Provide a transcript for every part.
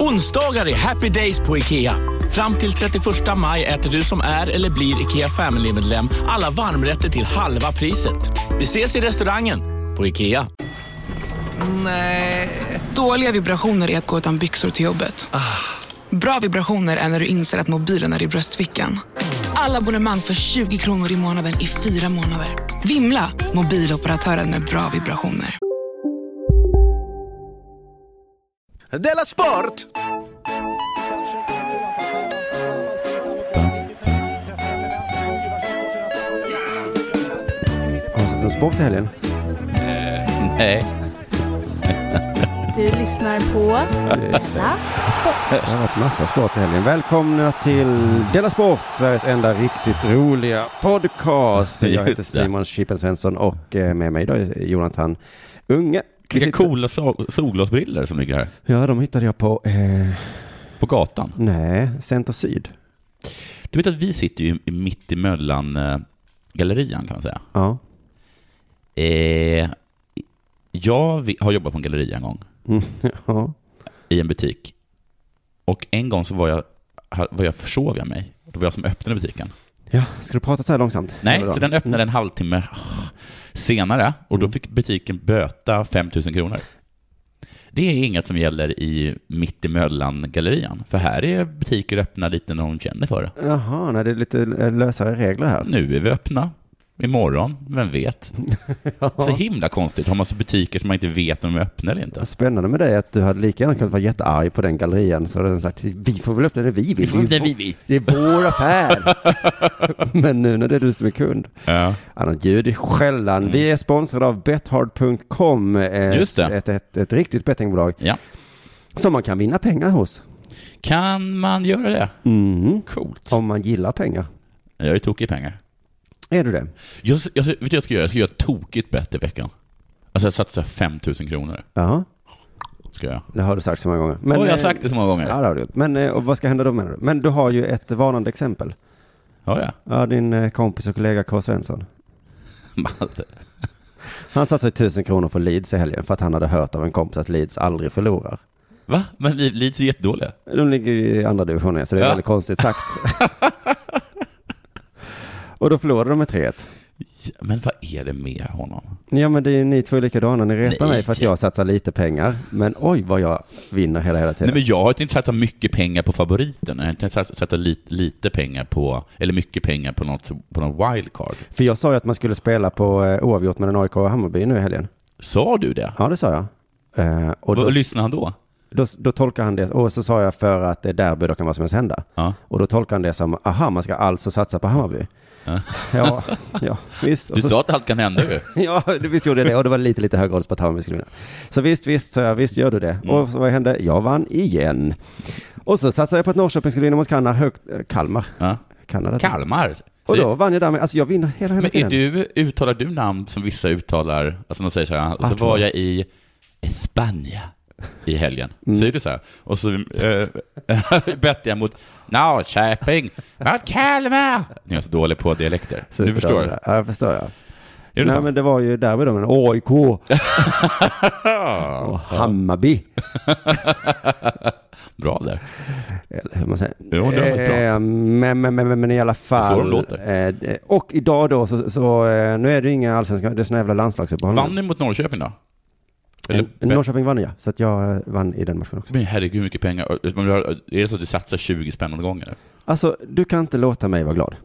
Onsdagar är happy days på IKEA. Fram till 31 maj äter du som är eller blir IKEA Family-medlem alla varmrätter till halva priset. Vi ses i restaurangen på IKEA. Dåliga vibrationer är att gå utan byxor till jobbet. Bra vibrationer är när du inser att mobilen är i bröstfickan. Alla abonnemang för 20 kronor i månaden i fyra månader. Vimla! Mobiloperatören med bra vibrationer. Della Sport! Har du sett någon sport i helgen? Nej. Du lyssnar på Della Sport. Det har varit massa sport i helgen. Välkomna till Della Sport, Sveriges enda riktigt roliga podcast. Jag heter Just det. Simon Chippen Svensson och eh, med mig idag är Jonathan Unge. Vi Vilka sitter- coola so- solglasbriller som ligger här. Ja, de hittade jag på, eh, På gatan. nej, Center Syd. Du vet att vi sitter ju i- mitt emellan eh, gallerian kan man säga. Ja. Eh, jag vi- har jobbat på en galleria en gång Mm, ja. i en butik. Och en gång så var jag, ha- var jag försov jag mig. Det var jag som öppnade butiken. ja, ska du prata så här långsamt? Nej, Eller då? så den öppnade en halvtimme ah, senare och då fick butiken böta 5 000 kronor. Det är inget som gäller i mittemellan-gallerian, för här är butiker öppna lite när de känner för det. Jaha, nej, det är lite eh, lösare regler här. Nu är vi öppna. Imorgon, vem vet? Så himla konstigt. Har man så butiker som man inte vet om de är öppna eller inte? Spännande med dig att du hade lika gärna kunnat vara jättearg på den gallerian så hade den sagt vi får väl öppna det vi vill. Vi får Det är öppna det vå- vi vill." Det är vår affär. Men nu när det är du som är kund. Ja. Annat ljud i skällan. Vi är sponsrade av bethard.com. eh, Mm. Just det. Ett, ett, ett riktigt bettingbolag ja. som man kan vinna pengar hos. Kan man göra det? Mm. Coolt. Om man gillar pengar. Jag är tokig i pengar. Är du det? Jag, jag, vet du vad jag ska göra? Jag ska göra ett tokigt bett i veckan. Alltså jag satsar 5 000 kronor. Ja, Ska jag. göra. det har du sagt så många gånger. Men, och jag har eh, sagt det så många gånger. Ja, det har du gjort. Men eh, och vad ska hända då menar du? Men du har ju ett varnande exempel. Ja, ja. Ja, din eh, kompis och kollega K. Svensson. Malte. Han satsade tusen kronor på Leeds i helgen för att han hade hört av en kompis att Leeds aldrig förlorar. Va? Men Li- Leeds är jättedåliga. De ligger ju i andra divisionen, så det är Ja. väldigt konstigt sagt. och då förlorade de med 3-1. Ja, Men vad är det med honom? Ja, men det är, ni två är likadana. Ni retar Nej. mig för att jag satsar lite pengar. Men oj, vad jag vinner hela, hela Nej, tiden. men jag har inte satsat mycket pengar på favoriten. Jag har inte satsat satsat li- lite pengar på, eller mycket pengar på något, på något wildcard. För jag sa ju att man skulle spela på eh, oavgjort mellan AIK och Hammarby nu i helgen. Sa du det? Ja, det sa jag. Eh, och Och då, lyssnade han då? då, då tolkar han det, och så sa jag för att det är derby, då kan vad som helst hända. Ja. Och då tolkar han det som, aha, man ska alltså satsa på Hammarby. Ja, ja, visst. Och Du så- sa att allt kan hända ju. Ja, det- visst gjorde jag det. Och det var lite, lite högre odds på att Hammarby skulle vinna. Så visst, visst, så jag, visst gör du det. Mm. Och så vad hände? Jag vann igen. Och så satsade jag på att Norrköping skulle vinna mot Kalmar. Högt, eh, Kalmar. Ja. Kanada. Kalmar. Så- Och då vann jag därmed. Alltså jag vinner hela, hela men är tiden. du, uttalar du namn som vissa uttalar? Alltså de säger så här, och så Vart var var jag i Spanien i helgen. Mm. Säger du så här? Och så äh, bett jag mot Norrköping, mot Kalmar. Ni är så dålig på dialekter. Superbra du förstår? det där. Ja, jag förstår. Ja. Är det Nej, sant? men det var ju derby då, men AIK och Hammarby. Bra där. Eller hur man säger. Jo, det var väldigt bra. Eh, men, men, men, men, men i alla fall. så de låter. Eh, det- och idag då, så, så eh, nu är det ju inga allsvenska, det är såna jävla landslagsuppehåll. nu. Vann ni mot Norrköping då? Eller, Eh, Norrköping vann ja, så att jag eh, vann i den matchen också. men herregud hur mycket pengar. Men du har- Är det så att du satsar 20 spännande gånger? nu? Alltså, du kan inte låta mig vara glad.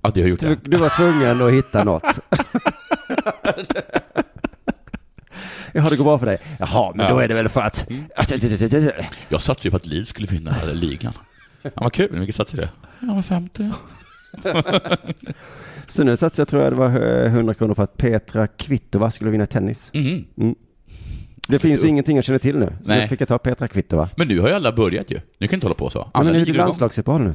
Att jag har gjort Du, det? du var tvungen att hitta något. Jaha, det går bra för dig. Jaha, men Ja. Mm. då är det väl för att... Alltså, det- det- det- det- Jag satsade ju på att Leeds skulle vinna den här ligan. Ja, vad kul, hur mycket satsade du? Ja, men 50. Så nu satsade jag, tror jag, det var eh, 100 kronor på att Petra Kvitova skulle vinna tennis. Mhm. Mm. Det finns ingenting jag känner till nu. Så Nej. då fick jag ta Petra Kvitto va? Men nu har ju alla börjat ju. Nu kan du inte hålla på så. Ja, men det är ju ligger igång. landslagsuppehåll nu.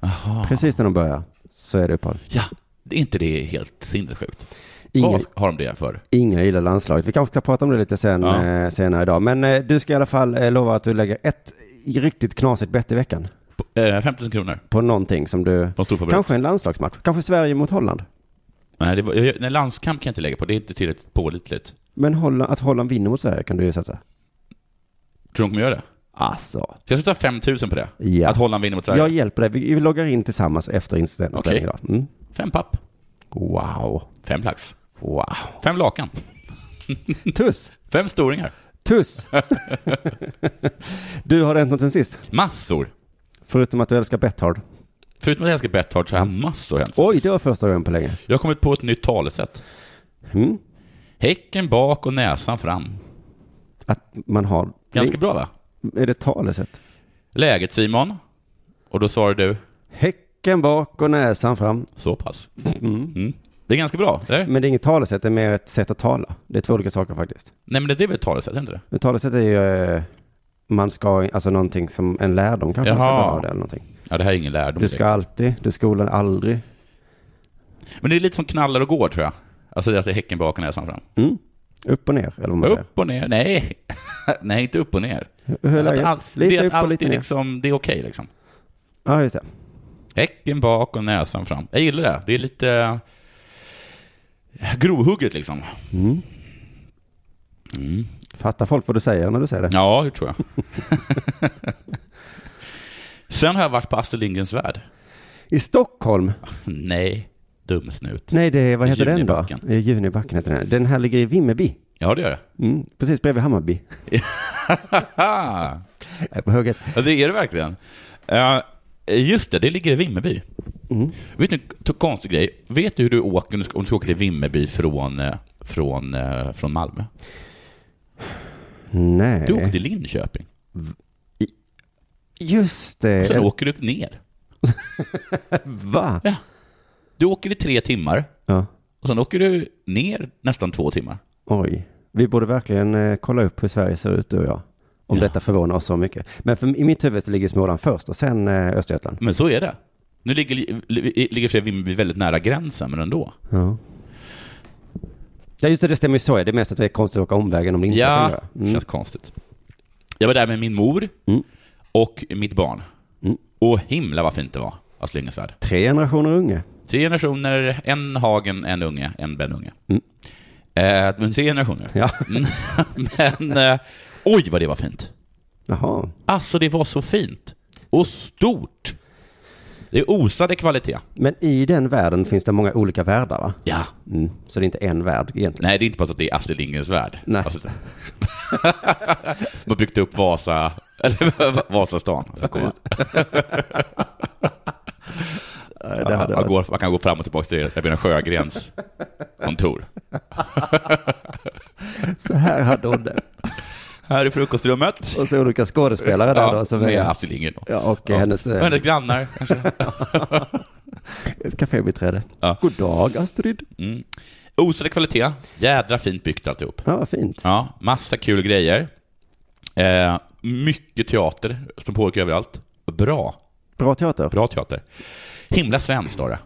Jaha. Precis när de börjar så är det uppehåll. Ja, det är inte det helt sinnessjukt? Ingen, Vad har de det för? ingen gillar landslaget. Vi kanske ska prata om det lite sen, Ja. eh, senare idag. Men eh, du ska i alla fall eh, lova att du lägger ett riktigt knasigt bett i veckan Eh, 15 000 kronor på någonting som du... på en storfavorit. Kanske en landslagsmatch. Kanske Sverige mot Holland. Nej, det var, jag- nej, landskamp kan jag inte lägga på. Det är inte tillräckligt pålitligt. Men Holland, att Holland vinner mot Sverige kan du ju sätta. Tror du de kommer göra det? Alltså. Så jag sätter 5 000 på det. Ja. Att Holland vinner mot Sverige. Jag hjälper dig. Vi vi loggar in tillsammans efter incidenten. Okej. idag. Mm. Fem papp. Wow. Fem lax. Wow. Fem lakan. Tuss. Fem storingar. Tuss. du, har det hänt något sen sist? Massor. Förutom att du älskar Betthard. Förutom att jag älskar Betthard så har massor hänt. Oj, det var första gången på länge. Jag har kommit på ett nytt talesätt. Mm. Häcken bak och näsan fram. Att man har... Ganska bra va? Är det talesätt? Läget Simon? Och då svarar du, Häcken bak och näsan fram. så pass. Mm. Det är ganska bra, eller? Men det är inget talesätt, det är mer ett sätt att tala. Det är två olika saker faktiskt. Nej men det är väl ett talesätt, är det inte det? Men talesätt är ju... eh, Man ska, alltså någonting som en lärdom kanske man ska Jaha. dra av det eller någonting. Ja, det här är ingen lärdom. Du ska direkt. alltid, du skolan aldrig. Men det är lite som knallar och går tror jag. Alltså det är att det är häcken bak och näsan fram. Mm. Upp och ner, eller vad man säger. Upp och ner, nej. nej, inte upp och ner. Hur är Att läget? allt- det lite är upp att och lite alltid ner. liksom, det är okej liksom. Ja, just det. Häcken bak och näsan fram. Jag gillar det. Det är lite eh, grovhugget liksom. Mm. Mm. Fattar folk vad du säger när du säger det? Ja, det tror jag. Sen har jag varit på Astrid Lindgrens Värld. I Stockholm? Nej, dumsnut. Nej, det är, vad heter den då? Junibacken. Eh, Junibacken heter den. Den här ligger i Vimmerby. Ja, det gör det. Mm. Precis bredvid Hammarby. Haha! Här På höger. Ja, det är det verkligen. Eh, just det, det ligger i Vimmerby. Mm. Vet du en k- konstig grej? Vet du hur du åker om du ska, om du ska åka till Vimmerby från, eh, från, eh, från Malmö? Nej. Du åker till Linköping. Just det. Sen Eller- åker du ner. Va? Du åker i tre timmar Ja. och sen åker du ner nästan två timmar. Oj. Vi borde verkligen eh, kolla upp hur Sverige ser ut, du och jag. Om Ja. detta förvånar oss så mycket. Men för, i mitt huvud så ligger Småland först och sen eh, Östergötland. Men så är det. Nu ligger, li- ligger för sig Vimmerby väldigt nära gränsen, men ändå. Ja. Ja just det, det stämmer ju så. ja. Det är mest att det Mm. är konstigt att åka omvägen om Linköping. Ja, va? känns konstigt. Jag var där med min mor Mm. och mitt barn. Mm. Och himla vad fint det var, Astrid Lindgrens Värld. Tre generationer unge. Tre generationer, en Hagen, en unge, en Benunge. Mm. Eh, men tre generationer. Ja. Mm. men eh, oj vad det var fint. Jaha. Alltså det var så fint. Och stort. Det osade kvalitet. Men i den världen finns det många olika världar va? Ja. Mm. Så det är inte en värld egentligen. Nej, det är inte bara så att det är Astrid Lindgrens Värld. Nej. Alltså, man byggt upp Vasa, eller Vasastan. Alltså, kom. det man, hade varit- går, man kan gå fram och tillbaka till Rebecka Sjögrens kontor. Så här hade hon det. Här är frukostrummet. Och så olika skådespelare där då. Som med är, Astrid Lindgren. då. ja, och hennes Och eh, hennes grannar. kanske. ett kafébiträde. Ja. God dag Astrid. Mm. Osade kvalitet. Jädra fint byggt alltihop. Ja, vad fint. Ja, massa kul grejer. Eh, mycket teater som pågick överallt. Bra. Bra teater. Bra teater. Himla svenskt var det.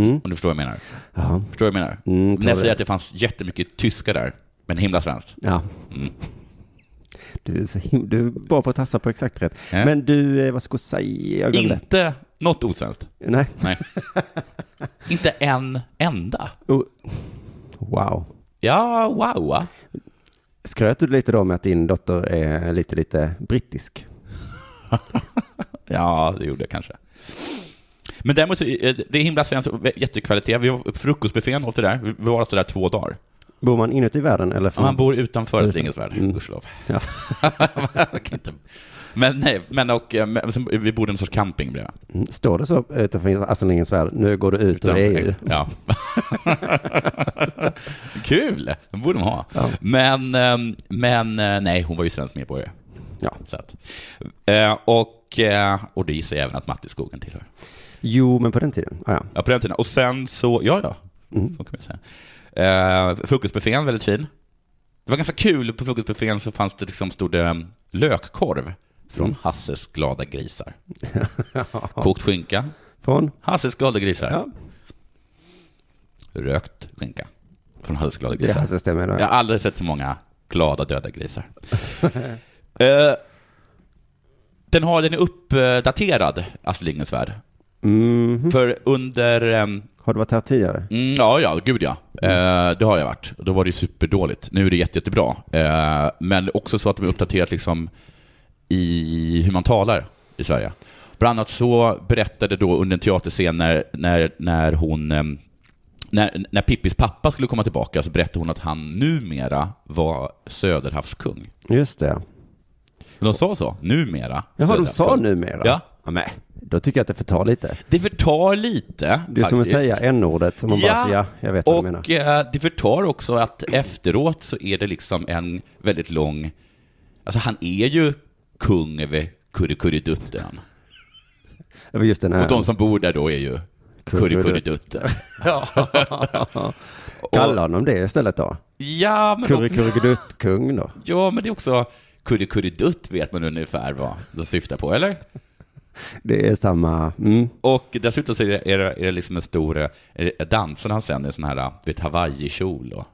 Mm. Om du förstår vad jag menar. Ja. Förstår vad jag menar? Mm, När jag tar säger det. att det fanns jättemycket tyska där, men himla svenskt. ja. Mm. Du, är så him- du är bra på att tassa på exakt rätt. Ja. Men du, eh, vad ska jag säga? Jag glömde. Inte något osvenskt. Nej. Nej. Inte en enda. Oh. Wow. Ja, wow. va? Skröt du lite då med att din dotter är lite, lite brittisk? Ja, det gjorde jag kanske. Men däremot, så är det är himla svenskt och jättekvalitet. Vi var frukostbuffén åt det där. Vi var alltså där två dagar. Bor man inuti världen eller? Ja, från- man bor utanför Astrid värld, Mm. gudskelov. Ja. Man kan inte- men nej, men och, eh, men, sen- vi bodde i en sorts camping bredvid. Mm. Står det så utanför Astrid Lindgrens Värld? Nu går du ut ur E Utan- EU. Ja. Kul! Det borde de ha. Ja. Men, ehm, men eh, nej, hon var ju svensk medborgare. Ja. Så att, eh, och, eh, och det gissar jag även att Matti Skogen tillhör. Jo, men på den tiden. Ah, ja. Ja, på den tiden. Mm. Och sen så, ja, ja. Så kan man säga. Eh, frukostbuffén, väldigt fin. Det var ganska kul, på frukostbuffén så fanns det liksom, stod det um, lökkorv Mm. från Hasses glada grisar. Kokt skinka, Från? Hasses glada grisar. Ja, Rökt skinka från Hasses glada det är grisar. Hasses det menar Jag jag. har aldrig sett så många glada döda grisar. Eh, den, har, den är uppdaterad, Astrid Lindgrens Värld. Mhm. För under... ehm, Har du varit här tidigare? Mm, ja, ja, gud ja. Mm. Eh, det har jag varit. Då var det ju superdåligt. Nu är det jätte, jättebra. Eh, men också så att de är uppdaterat liksom i hur man talar i Sverige. Bland annat så berättade då under en teaterscen när, när, när hon ehm, när, när Pippis pappa skulle komma tillbaka så berättade hon att han numera var Söderhavskung. Just det. De sa så, numera. Jaha, de sa Söderhavskung. numera? Ja. men, då tycker jag att det förtar lite. Det förtar lite. Det är som att faktiskt. säga n-ordet, som man bara säger ja, jag vet och vad du menar. eh, det förtar också att efteråt så är det liksom en väldigt lång... Alltså han är ju kung över Kurrekurredutten. Det var just den här. Och de som bor där då är ju Kurrekurredutten. Kalla honom det istället då. Ja, men, också, Kurrekurredutt-kung då. ja, men det är också Kurrekurredutt vet man ungefär vad de syftar på, eller? Det är samma, mm. Och dessutom så är det, är det, är det liksom en stor... eh, är det- Dansen han sen är sån här, du vet, hawaii-kjol och...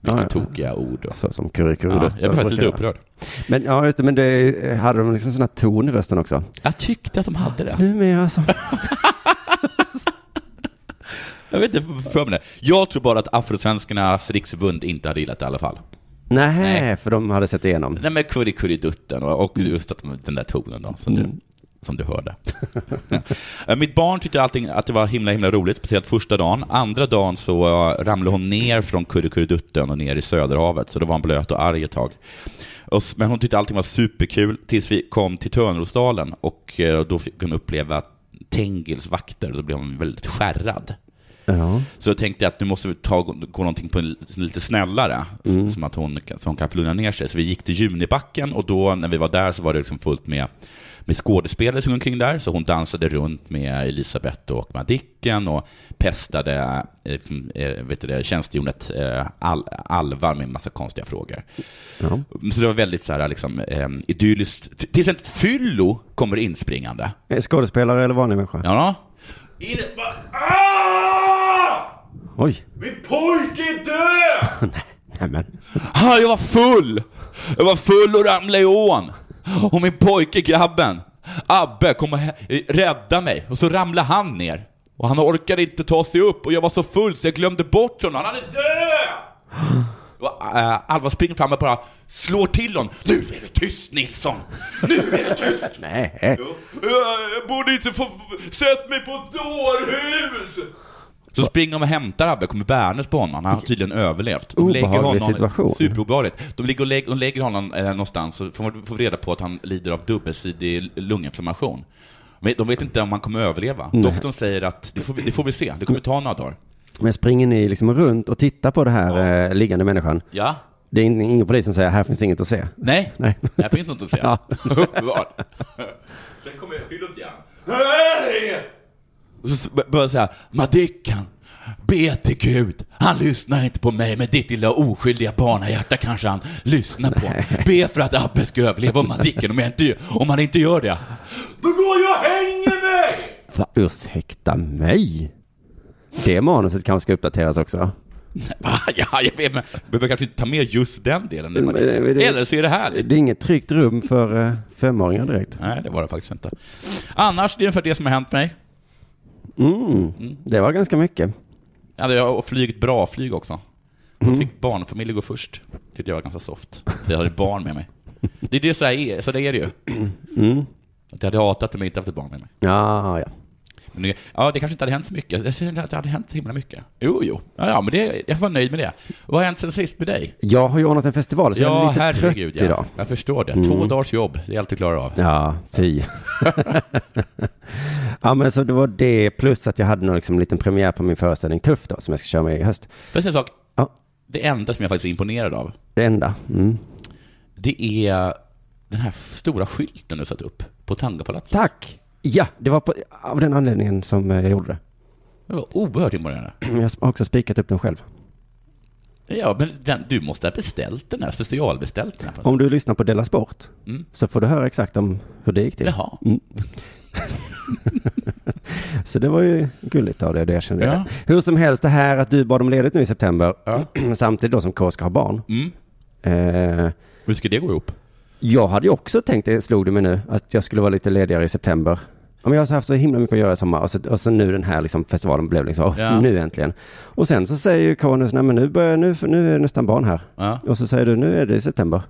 Vilka Ja, ja. tokiga ord och... så som Ja, jag kurrekurredutt. blev faktiskt lite upprörd. Men ja, just det, men det, hade de liksom sån här ton i rösten också? Jag tyckte att de hade det. Numera så. Jag vet inte för mig det. Jag tror bara att Afrosvenskarnas riksförbund inte hade gillat det i alla fall. Nej, Nej. för de hade sett igenom. Nej men kurrikuriddutten och, och just att de- den där tonen då, som, du, som du hörde. Eh, Mitt barn tyckte allting, att det var himla himla roligt, speciellt första dagen. Andra dagen så eh, ramlade hon ner från kurrikuriddutten och ner i Söderhavet, så då var hon blöt och arg ett tag. Och, s- men hon tyckte allting var superkul tills vi kom till Törnrosdalen och eh, då fick hon uppleva Tengils vakter, och då blev hon väldigt skärrad. Ja. Så jag tänkte att nu måste vi ta, gå någonting på en, lite snällare, som att hon, kan- så hon kan få lugna ner sig. Så vi gick till Junibacken och då när vi var där så var det liksom fullt med, med skådespelare som gick omkring där. Så hon dansade runt med Elisabeth och Madicken och pestade eh, liksom, eh, vet du det, tjänstehjonet eh, Al, Alvar med en massa konstiga frågor. Ja. Så det var väldigt så här, liksom, eh, idylliskt. T- Tills ett fyllo kommer inspringande. Eh, Skådespelare eller vanlig människa? Ja. In, bara, ah! Oj, Min pojke är död! nämen. Ah, jag var full! Jag var full och ramlade i ån. Och min pojke, grabben, Abbe, kom och he- rädda mig. Och så ramlade han ner. Och han orkade inte ta sig upp och jag var så full så jag glömde bort honom. Han är död! Och, äh, Alva springer fram och bara slår till honom. Nu är det tyst Nilsson! Nu är det tyst! Nej. Äh, Jag borde inte få sett mig på ett dårhus! Så springer de och hämtar Abbe, kommer bärandes på honom. Han har tydligen överlevt. De lägger Obehaglig situation. Superobehagligt. De ligger och lägger, de lägger honom eh, någonstans och får, får reda på att han lider av dubbelsidig lunginflammation. Men de vet inte om han kommer överleva. Doktorn säger att det får, vi, det får vi se, det kommer ta några dagar. Men springer ni liksom runt och tittar på den här eh, liggande människan? Ja? Det är in- ingen polis som säger här finns inget att se. Nej? Nej. Det finns något att säga. Uppenbart. Sen kommer Fyllot igen. Hej! Och så bör- börjar jag säga, Madicken, be till Gud. Han lyssnar inte på mig, men ditt lilla oskyldiga barnahjärta kanske han lyssnar på. Be för att Abbe ska överleva och Madicken, om, jag inte, om han inte gör det. Då går jag och hänger mig! Va, ursäkta mig? Det manuset kanske ska uppdateras också. Va? Ja, jag vet, men behöver kanske inte ta med just den delen. Men det- men det- Eller så är det härligt. Det är inget tryggt rum för eh, femåringar direkt. Nej, det var det faktiskt inte. Annars, det är ungefär det som har hänt mig. Mm. Det var ganska mycket. Ja, det- och flugit bra flyg också. Då Mm. fick barnfamiljer gå först. Tyckte jag var ganska soft. För jag hade barn med mig. Det är det så, här är, så det är det ju. Mm. Att jag hade hatat om jag inte haft ett barn med mig. Ja, ja. Men nu, ja, det kanske inte hade hänt så mycket. Jag känner att det hade hänt så himla mycket. Jo, jo. Ja, ja men det, jag var nöjd med det. Vad har hänt sen sist med dig? Jag har ju ordnat en festival så jag är lite trött ja. idag. Mm. Jag förstår det. Två dagars jobb, det är allt du klarar av. Ja, fy. ja, men så det var det plus att jag hade någon liksom liten premiär på min föreställning Tuff då, som jag ska köra med i höst. Får jag säga en sak? Ja. Det enda som jag faktiskt är imponerad av, Det enda. Mm. det är den här stora skylten du satt upp på Tangopalatset. Tack! Ja, det var på, av den anledningen som eh, jag gjorde det. Det var oerhört imponerande. Jag har också spikat upp den själv. Ja, men den, du måste ha beställt den här, specialbeställt den här. Om du lyssnar på Della Sport Alltså- Mm. så får du höra exakt om hur det gick till. Jaha. Mm. så det var ju gulligt av dig, det erkände jag. Ja. Hur som helst, det här att du bad om ledigt nu i september, samtidigt då som K ska ha barn. Mm. Eh, Hur ska det gå ihop? jag hade ju också tänkt, det slog det mig nu, att jag skulle vara lite ledigare i september. Ja, men jag har så haft så himla mycket att göra i sommar och så, och så nu den här liksom, festivalen blev liksom, åh, Ja. nu äntligen. Och sen så säger ju Konus, nej men nu, börjar, nu, nu är det nästan barn här. Ja. Mm. Och så säger du, nu är det i september.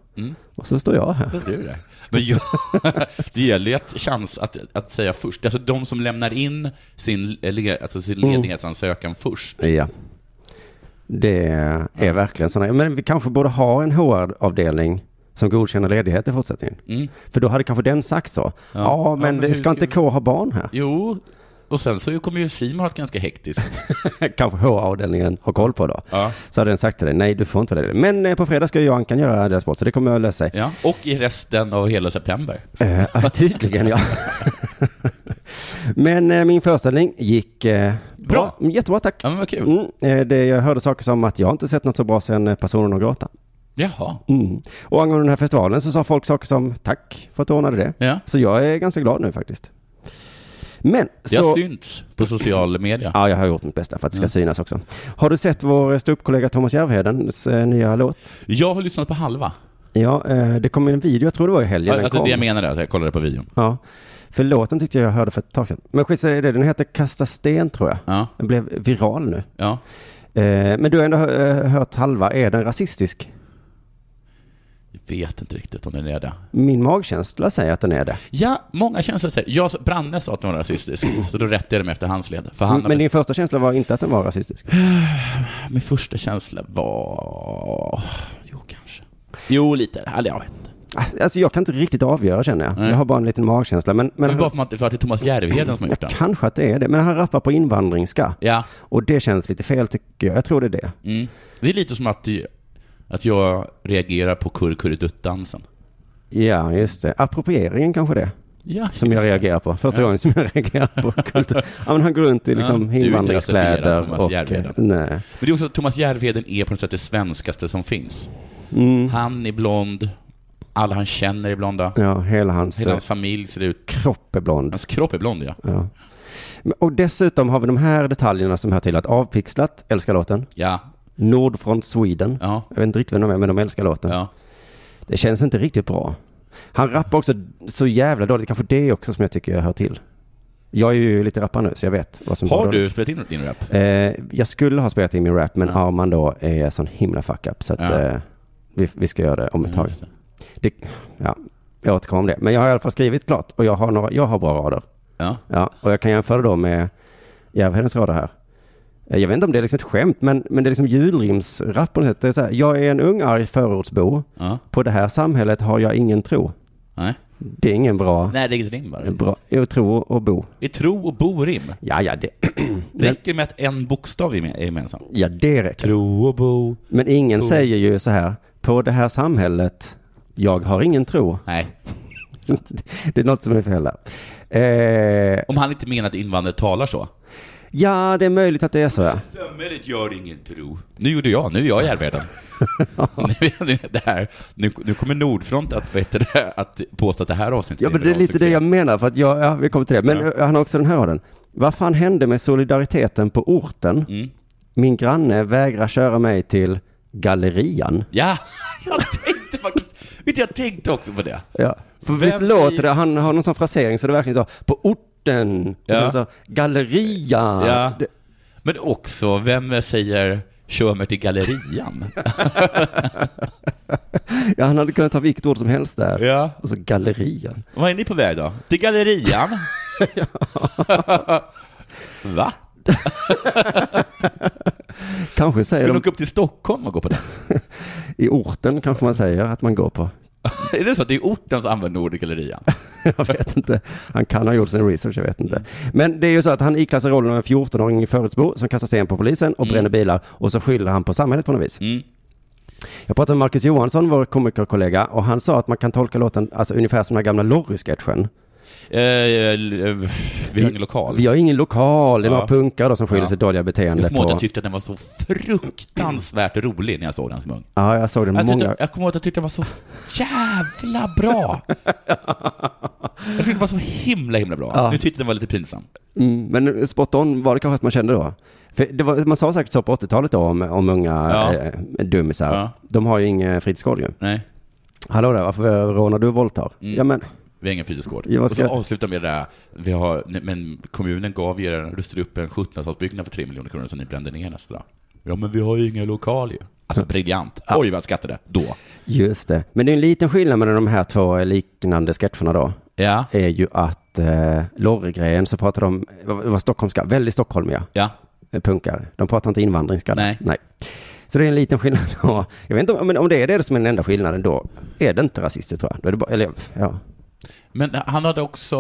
Och så står jag här. Fast det är ju det. Men jag, det gäller ju att chans att, att säga först. Alltså de som lämnar in sin, le- alltså sin Mm. ledighetsansökan först. Ja. Det är verkligen sådana. Men vi kanske borde ha en HR-avdelning som godkänner ledighet i fortsättningen. Mm. För då hade kanske den sagt så. Ja, men, men hur det ska ska inte vi- K ha barn här? Jo, och sen så kommer ju Simon ha ett ganska hektiskt. kanske HR-avdelningen har koll på då. Ja. Så hade den sagt till dig, nej du får inte vara ledig. Men eh, på fredag ska jag och Ankan göra deras sport, så det kommer att lösa sig. Ja. Och i resten av hela september. Eh, ja, tydligen ja. men eh, min föreställning gick eh, bra. Bra. Jättebra tack. Ja, men vad kul. Mm, eh, det, jag hörde saker som att jag har inte sett något så bra sedan eh, personen och gråta. Jaha. Mm. Och angående den här festivalen så sa folk saker som tack för att du ordnade det. Ja. Så jag är ganska glad nu faktiskt. Men Det har så... synts på social media. Ja, jag har gjort mitt bästa för att det ska synas också. Har du sett vår eh, ståuppkollega Thomas Järvhedens eh, nya låt? Jag har lyssnat på halva. Ja, eh, det kom en video, jag tror det var i helgen den Alltså kom. det jag menar är att jag kollade på videon. Ja. För låten tyckte jag jag hörde för ett tag sedan. Men skit i det, den heter Kasta sten tror jag. Ja, Den blev viral nu. ja. Eh, men du har ändå hö- eh, hört halva, är den rasistisk? Jag vet inte riktigt om den är det. Min magkänsla säger att den är det. Ja, många känslor säger... Jag, Branne sa att den var rasistisk, så då rättade jag dem efter hans led. För han har Men din första känsla var inte att den var rasistisk? Min första känsla var... Jo, kanske. Jo, lite. Eller jag vet inte. Alltså jag kan inte riktigt avgöra känner jag. Nej. Jag har bara en liten magkänsla. Men, men Men han, bara för att, för att det är Thomas Järvheden som har gjort den. kanske att det är det. Men han rappar på invandringska. Ja. Och det känns lite fel tycker jag. Jag tror det är det. Mm. Det är lite som att, att jag reagerar på kurr-kurredutt-dansen. Ja, just det. Approprieringen kanske det. Ja, Som jag reagerar på. Första gången som jag reagerar på kultur. Ja, men han går runt i liksom du är inte rasifierad, invandringskläder. Thomas Och, Järvheden. nej. Men det är också att Thomas Järvheden är på något sätt det svenskaste som finns. Han är blond, alla han känner är blonda, Ja, hela hans hela eh, hans familj ser ut... kropp är blond. Hans kropp är blond, ja. Men- Och dessutom har vi de här detaljerna som hör till att Avpixlat älskar låten. Ja, Nordfront Sweden. ja, Jag vet inte riktigt vem de är, men de älskar låten. ja. Det känns inte riktigt bra. Han rappar också så jävla dåligt. Kanske det också som jag tycker jag hör till. Jag är ju lite rappare nu, så jag vet vad som Har går du spelat in din rap? då. Eh, jag skulle ha spelat in min rap, men Ja. Arman då är sån himla fuck-up. Så att Ja. eh, vi, vi ska göra det om ett Ja, tag. just det. Det, ja, jag återkommer om det. Men jag har i alla fall skrivit klart och jag har, några, jag har bra rader. Ja. Ja, och jag kan jämföra då med Järvhedens rader här. Eh, Jag vet inte om det är liksom ett skämt, men, men det är liksom julrimsrap på något sätt. Det är så här, jag är en ung arg förortsbo. ja. På det här samhället har jag ingen tro. Nej. Det är ingen bra, Nej, det är inget rim bara. bra jag tro och bo. I tro och bo-rim. Ja, ja, det, Räcker med att en bokstav är med- är gemensam? ja, det räcker. Tro och bo. Men ingen säger ju så här, på det här samhället, jag har ingen tro. Nej. Det är något som är fel där. Eh, Om han inte menar att invandrare talar så. ja, det är möjligt att det är så. Ja. Samhället gör ingen tro. Nu gjorde jag, nu är jag Järvheden. nu, nu, det här, nu, nu kommer Nordfront att, vad heter det, att påstå att det här avsnittet ja, men det är bra lite det succé. jag menar, för att jag, ja, vi kommer till det. Men eh, han har också den här raden. Vad fan hände med solidariteten på orten? Mm. Min granne vägrar köra mig till gallerian. Ja, jag tänkte faktiskt... Vet du, jag tänkte också på det. Ja. För visst säger- låter det, han har någon sån frasering så det verkligen så, på orten, och Ja. sen så, galleria. Ja. Det, Men också, vem säger kör mig till gallerian? ja, han hade kunnat ta vilket ord som helst där. ja. Och så gallerian. Vad är ni på väg då? Till gallerian? Va? Kanske säger Ska ni de, åka upp till Stockholm och gå på den? i orten kanske man säger att man går på. Är det så att det är orten som använder ordet gallerian? Jag vet inte. Han kan ha gjort sin research, jag vet inte. Mm. Men det är ju så att han ikläder sig rollen av en 14-åring i Förortsbo som kastar sten på polisen och bränner bilar och så skyller han på samhället på något vis. Mm. Jag pratade med Marcus Johansson, vår komikerkollega, och han sa att man kan tolka låten alltså, ungefär som den här gamla Lorry-sketchen. Eh, eh, vi, har ingen lokal. Vi har ingen lokal, det är Ja. några punkare då som skiljer Ja. sitt dåliga jag beteende kommer ihåg att på. jag tyckte att den var så fruktansvärt rolig när jag såg den som ung. Ja, jag såg det Jag, många. tyckte, jag kommer ihåg att jag tyckte den var så jävla bra. Jag tyckte den var så himla, himla bra. Ja. Nu tyckte jag den var lite pinsam. Mm, men spot on var det kanske att man kände då. För det var, man sa säkert så på 80-talet då om, om unga Ja. eh, dummisar. Ja. De har ju ingen fritidsgård ju. Nej, Hallå där, varför rånar du och våldtar? Mm. Ja men, vi har ingen fritidsgård. Ja, vad och ska så jag- avslutar med det där, vi har, nej, men kommunen gav er, rustade upp en 1700-talsbyggnad för 3 miljoner kronor som ni brände ner nästa dag. Ja, men vi har ju inga lokaler ju. Alltså briljant. Oj, vad jag skrattade då. just det. Men det är en liten skillnad mellan de här två liknande sketcherna då. Ja, Är ju att eh, Lorregren så pratar de, det var stockholmska, väldigt stockholmiga ja. eh, punkare. De pratar inte invandringska. där. Nej. Nej. Så det är en liten skillnad då. Jag vet inte om, men om det är det som är den enda skillnaden då är det inte rasistiskt tror jag. Då är det bara, eller ja. Men han hade också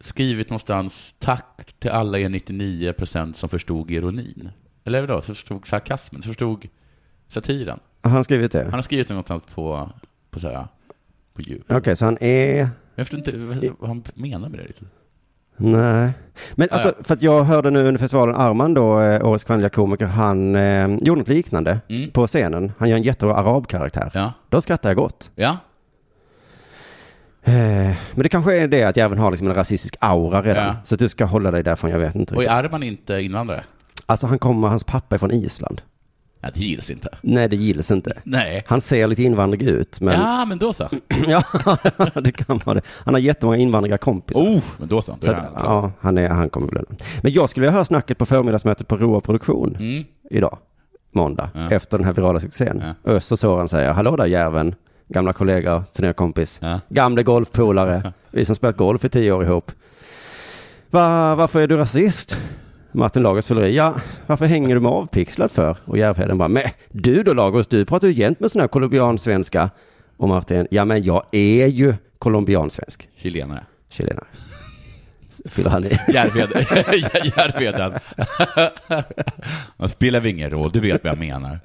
skrivit någonstans tack till alla er 99% som förstod ironin. Eller vadå? Som förstod sarkasmen, som förstod satiren. Har han skrivit det? Han har skrivit någonstans på, på så här, på djup. Okej, så han är... Jag förstår inte vad- vad han menar med det riktigt. Nej. Men alltså, Ah, för att jag hörde nu under festivalen Arman då, eh, årets kvinnliga komiker, han eh, gjorde något liknande Mm. på scenen. Han gör en jättebra arabkaraktär. Ja. Då skrattar jag gott. Ja. Eh, men det kanske är det att jäveln har liksom en rasistisk aura redan. Ja. Oh Så att du ska hålla dig därifrån, jag vet inte Och riktigt. är man inte invandrare? Alltså han kommer, hans pappa är från Island. Ja, det gills inte. Nej, det gills inte. Nej. Han ser lite invandrig ut, men... Ja, men då så. Ja, det kan vara det. Han har jättemånga invandrarkompisar. Oh, men då så. Då Så är att, han klar. ja, han, är, han kommer bli den. Men jag skulle vilja höra snacket på förmiddagsmötet på Roa Produktion Mm. idag, måndag, Ja. efter den här virala succén. Öss och Soran säger, hallå där järven, gamla kollega, turnékompis, Ja. gamla golfpolare, vi som spelat golf i tio år ihop. Va, varför är du rasist? Martin Lagos fyller i, ja, varför hänger du med avpixlad för? Och Järvheden bara, men du då Lagos, du pratar ju jämt med sån här colombiansvenska. Och Martin, ja men jag är ju colombiansvensk, Chilenare. chilenare. Fyller han i. Järvheden. Järvheden. Man spelar väl ingen roll, du vet vad jag menar.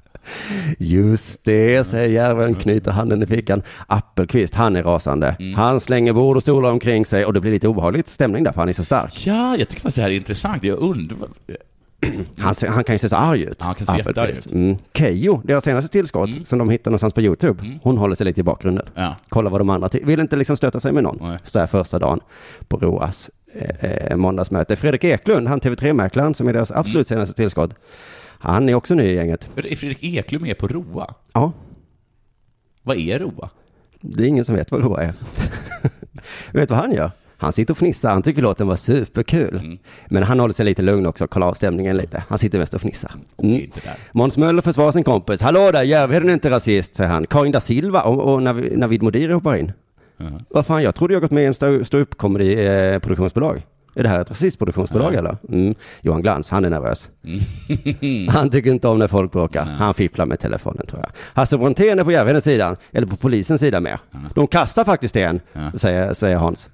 Just det, säger järven, knyter handen i fickan. Appelqvist, han är rasande. Mm. Han slänger bord och stolar omkring sig och det blir lite obehagligt stämning där för han är så stark. Ja, jag tycker faktiskt det här är intressant. Jag undrar... Han, ser- han kan ju se så arg ut. Ja, han kan se Appelqvist. jättearg ut. Mm. Mm. Keyyo, deras senaste tillskott som de hittar någonstans på YouTube, hon håller sig lite i bakgrunden. Ja. Kolla vad de andra ty- Vill inte liksom stöta sig med någon Nej. så här första dagen på Roas eh, eh, måndagsmöte. Fredrik Eklund, han TV3-mäklaren som är deras Mm. absolut senaste tillskott, han är också ny i gänget. Är Fredrik Eklund med på ROA? Ja, Vad är ROA? Det är ingen som vet vad Roa är. vet du vad han gör? Han sitter och fnissar, han tycker låten var superkul. Men han håller sig lite lugn också, kollar av stämningen lite. Han sitter mest och fnissar. Det är Mm. inte där. Måns Möller försvarar sin kompis. Hallå där, Järvheden är inte rasist, säger han. Karin da Silva och, och Navi- Navid Modiri hoppar in. Vad fan, jag trodde jag gått med i en stå- ståuppkomedi-produktionsbolag. Är det här ett rasistproduktionsbolag eller? Mm. Johan Glans, han är nervös. Han tycker inte om när folk bråkar. Han fipplar med telefonen tror jag. Hasse Brontén är på Järvhedens sida, eller på polisens sida med. De kastar faktiskt en, säger, säger Hans.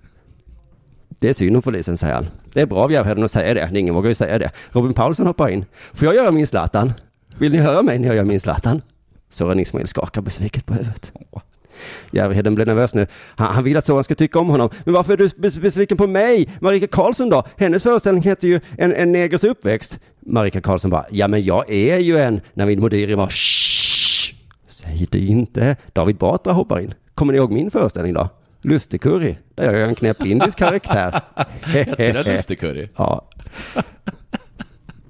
Det är synd om polisen, säger han. Det är bra av Järvheden att säga det. Ingen vågar ju säga det. Robin Paulsson hoppar in. Får jag göra min Zlatan? Vill ni höra mig när jag gör min Zlatan? Soran Ismail skakar besviket på huvudet. Järvheden blir nervös nu. Han, han vill att Soran ska tycka om honom. Men varför är du bes- besviken på mig? Marika Karlsson då? Hennes föreställning heter ju En, en negers uppväxt. Marika Karlsson bara, ja men jag är ju en. Navid Modiri var shh, säg det inte. David Batra hoppar in. Kommer ni ihåg min föreställning då? Lustigkurri, där jag gör en knäpp indisk karaktär. Det där är lustig curry. Ja.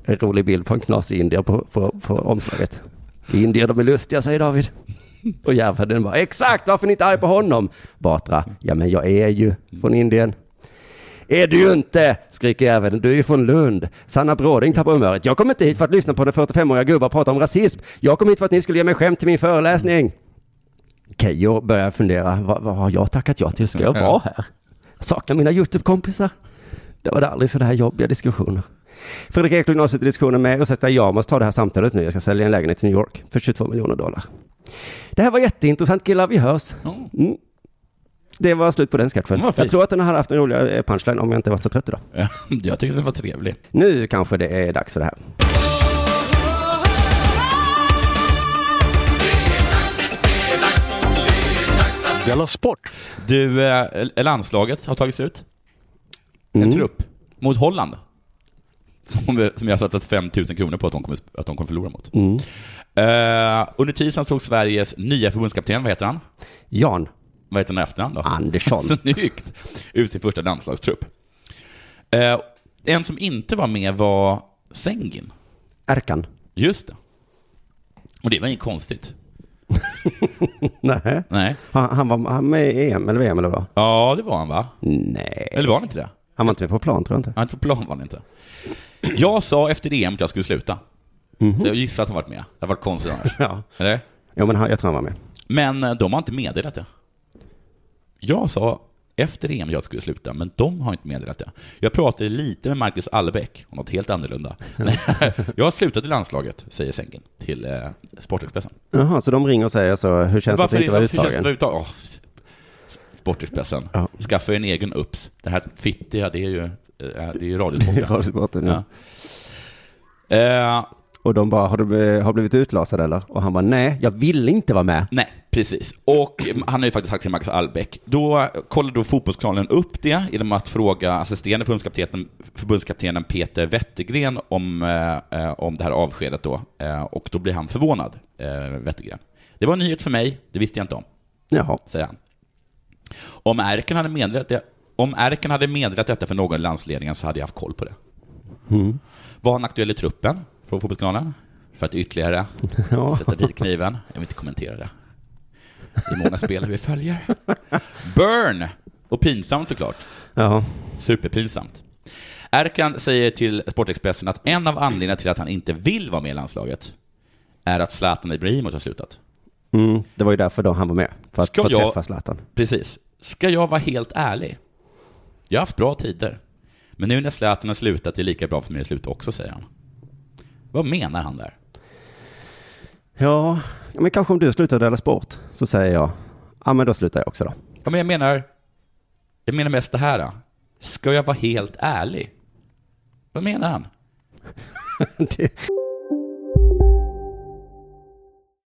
En rolig bild på en knasig indier på, på, på omslaget. Indier, de är lustiga, säger David. Och Järvheden bara, exakt, varför är ni inte arg på honom? Batra, ja men jag är ju från Indien. Är du ju inte, skriker Järvheden, du är ju från Lund. Sanna Bråding tappar humöret. Jag kom inte hit för att lyssna på den 45-åriga gubbar prata om rasism. Jag kom hit för att ni skulle ge mig skämt till min föreläsning. Keyyo börjar fundera, vad, vad har jag tackat ja till? Ska jag vara här? Jag saknar mina YouTube-kompisar. Det var det aldrig sådana här jobbiga diskussioner. Fredrik Eklund avslutar diskussionen med, ursäkta jag måste ta det här samtalet nu, jag ska sälja en lägenhet i New York för 22 miljoner dollar. Det här var jätteintressant killar, vi hörs. Ja. Mm. Det var slut på den sketchen. Den var fin. Jag tror att den hade haft en roligare eh, punchline om jag inte varit så trött idag. Ja, Jag tyckte det var trevlig. Nu kanske det är dags för det här. Della Sport. Du, eh, landslaget har tagits ut. En Mm. trupp mot Holland. Som, som jag har satt 5 000 kronor på att de kommer, att de kommer förlora mot. Mm. Eh, under tisdagen slog Sveriges nya förbundskapten, vad heter han? Jan Vad heter han i efterhand då? Andersson. Snyggt! Ut sin första landslagstrupp. Eh, en som inte var med var Sengin. Erkan. Just det. Och det var inget konstigt. Nej. Nej. Han, han var han med i EM eller VM eller vad? Ja, det var han va? Nej. Eller var han inte det? Han var inte med på plan tror jag inte. Han på plan var han inte. Jag sa efter EM att jag skulle sluta. Mhm. Så jag gissar att han varit med. Det har varit konstigt annars. Ja. Eller? Jo men han, jag tror han var med. Men eh, de har inte meddelat det. Jag sa efter EM att jag skulle sluta, men de har inte meddelat det. Jag pratade lite med Marcus Allbäck om något helt annorlunda. Mm. Nej, jag har slutat i landslaget, säger Sängen till eh, Sportexpressen. Jaha, så de ringer och säger så, hur känns det att Varför inte är- vara varför känns det uttagen? att vara uttagen? Åh, s- Sportexpressen, Ja. skaffa er en egen UPS. Det här fittiga, det är ju, eh, det är ju radiosporten. Radiosporten, ja. Ja. Eh, Och de bara, har du bl- har blivit utlasad eller? Och han bara, nej, jag vill inte vara med. Nej, precis. Och han har ju faktiskt sagt till Max Albeck. Då kollade då fotbollskanalen upp det genom att fråga assisterande förbundskaptenen, förbundskaptenen Peter Wettergren om, eh, eh, om det här avskedet då. Eh, och då blir han förvånad, eh, Wettergren. Det var en nyhet för mig, det visste jag inte om, Jaha. säger han. Om Erken hade meddelat, det, om Erken hade meddelat detta för någon i landsledningen så hade jag haft koll på det. Var han aktuell i truppen från fotbollskanalen? För att ytterligare Ja. sätta dit kniven. Jag vill inte kommentera det. Det är många spelare vi följer. Burn! Och pinsamt såklart. ja. Superpinsamt. Erkan säger till Sportexpressen att en av anledningarna till att han inte vill vara med i landslaget är att Zlatan Ibrahimovic har slutat. Mm, det var ju därför då han var med. För att Ska få jag- träffa Zlatan. Precis. Ska jag vara helt ärlig? Jag har haft bra tider. Men nu när Zlatan har slutat är det lika bra för mig att sluta också, säger han. Vad menar han där? Ja, ja, men kanske om du slutar dela sport så säger jag, ja men då slutar jag också då. Ja, men jag menar, jag menar mest det här. Då. Ska jag vara helt ärlig? Vad menar han? Det-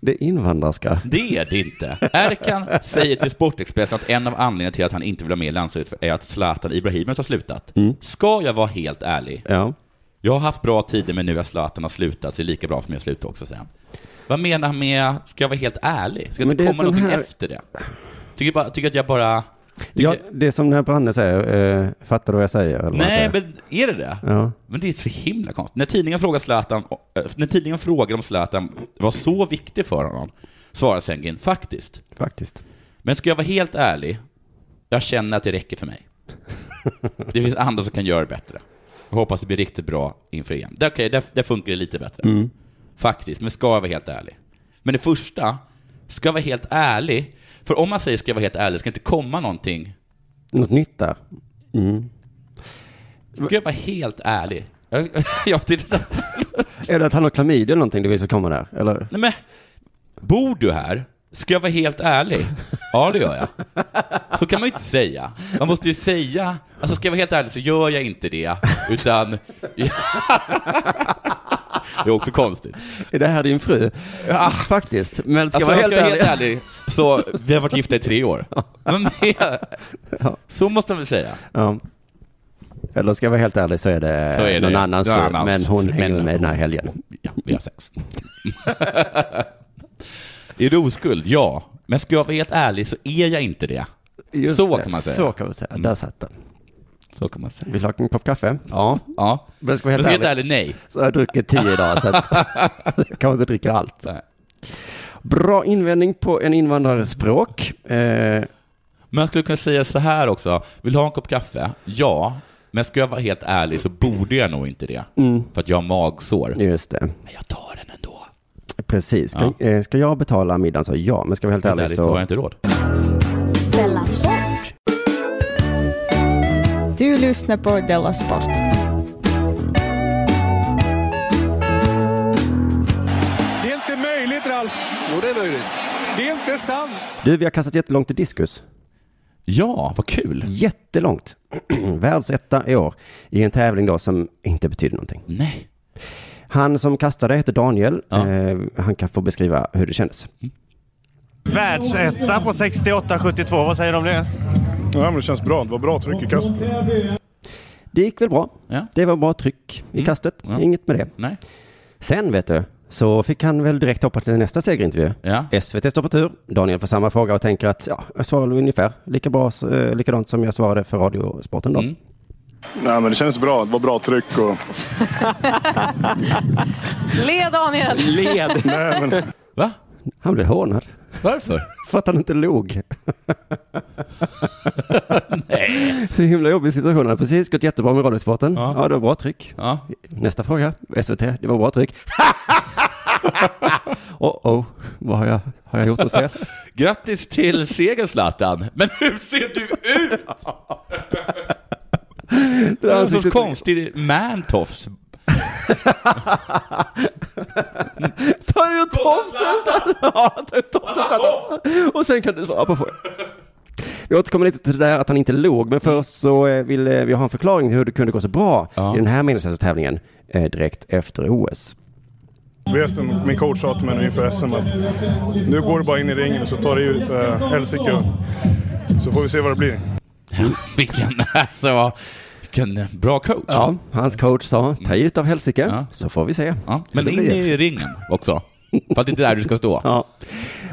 Det är invandrarska. Det är det inte. Erkan säger till Sportexpressen att en av anledningarna till att han inte vill vara med i landslaget är att Zlatan Ibrahimovic har slutat. Mm. Ska jag vara helt ärlig? Ja. Jag har haft bra tider men nu att Zlatan har slutat så är det lika bra för mig att sluta också, säger han. Vad menar han med, ska jag vara helt ärlig? Ska det Men inte det är komma sån någonting här- efter det? Tycker, bara, tycker att jag bara... Tycker ja det är som den här Branne säger, eh, fattar du vad jag säger? Eller vad han säger? Nej, men är det det? Ja. Men det är så himla konstigt. När tidningen frågar, Zlatan, eh, när tidningen frågar om Zlatan var så viktig för honom, svarar Sengin faktiskt. Faktiskt. Men ska jag vara helt ärlig, jag känner att det räcker för mig. Det finns andra som kan göra det bättre. Jag hoppas det blir riktigt bra inför EM. Det, okay, där, där funkar det lite bättre. Faktiskt, men ska jag vara helt ärlig? Men det första, ska jag vara helt ärlig? För om man säger ska jag vara helt ärlig, ska det inte komma någonting Något nytt där. Mm. Ska jag vara helt ärlig? Jag, jag tyckte Är det att han har klamydia eller någonting du vill ska komma där? Eller? Nej men, bor du här? Ska jag vara helt ärlig? Ja, det gör jag. Så kan man ju inte säga. Man måste ju säga, alltså ska jag vara helt ärlig så gör jag inte det, utan... det är också konstigt. Är det här din fru? Ja. Faktiskt. Men ska Ah. Alltså, jag vara jag helt, ska Ah, vara ärlig. helt ärlig, så vi har varit gifta i tre år. Men, så måste man väl säga? Ja. Eller ska jag vara helt ärlig så är det, Så är det någon annans någon fru, annans men hon fru, hänger men- med den här helgen. Ja, vi har sex. är du oskuld? Ja. Men ska jag vara helt ärlig så är jag inte det. Just så det, kan man säga. Så kan man säga. Där satt den. Så kan man säga. Vill du ha en kopp kaffe? Ja. ja. Men ska vi Men helt ska jag vara ärlig, ärlig, nej. så har jag druckit tio idag, så att jag kanske inte dricker allt. Bra invändning på en invandrares språk. Eh, Men jag skulle kunna säga så här också. Vill du ha en kopp kaffe? Ja. Men ska jag vara helt ärlig så borde jag nog inte det. Mm. För att jag har magsår. Just det. Men jag tar den ändå. precis. Ska, eh, ska jag betala middagen så ja, men ska vi helt Helt ärlig ärligt så har jag inte råd. Della Sport. Du lyssnar på Della Sport. Det är inte möjligt, Ralf. Jo, det är möjligt. Det är inte sant. Du, vi har kastat jättelångt i diskus. Ja, vad kul. Jättelångt. Världsetta i år i en tävling då som inte betyder någonting. Nej. Han som kastade heter Daniel. Eh, han kan få beskriva hur det kändes. Världsetta på 68-72, vad säger du om det? Ja, men det känns bra. Det var bra tryck i kast. Det gick väl bra. Ja. Mm. Det var bra tryck i kastet. Ja. Inget med det. Nej. Sen vet du, så fick han väl direkt hoppa till nästa segerintervju. Ja. SVT står på tur. Daniel får samma fråga och tänker att ja, jag svarar väl ungefär lika bra, eh, likadant som jag svarade för Radiosporten då. Mm. Nej, men det känns bra. Det var bra tryck och... Le Daniel! Nej, men... Va? Han blev hånad. Varför? För att han inte log. Nej. Så himla jobbig situation. Han hade precis gått jättebra med Radiosporten. Ja. Ja. det var bra tryck. Ja. Nästa fråga, SVT, det var bra tryck. oh, oh, vad har jag, har jag gjort något fel? Grattis till segern Zlatan. Men hur ser du ut? Det Det där är en sorts ansiktet- konstig mantofs. Ta ur tofsen! sa- Ja, ta ur tofsen! Zlatan. Och sen kan du svara på frågan. Vi återkommer lite till det där att han inte log, men först så eh, vill eh, vi ha en förklaring till hur det kunde gå så bra i den här meningslöshetstävlingen eh, direkt efter OS. Resten, min coach sa till mig nu inför SM att nu går du bara in i ringen och så tar du ut äh, helsike. Så får vi se vad det blir. Vilken, alltså, vilken bra coach. Ja, hans coach sa, ta ut av helsike, Ja. så får vi se. Ja, Men hur det in blir. i ringen också. För att det är där du ska stå. Ja.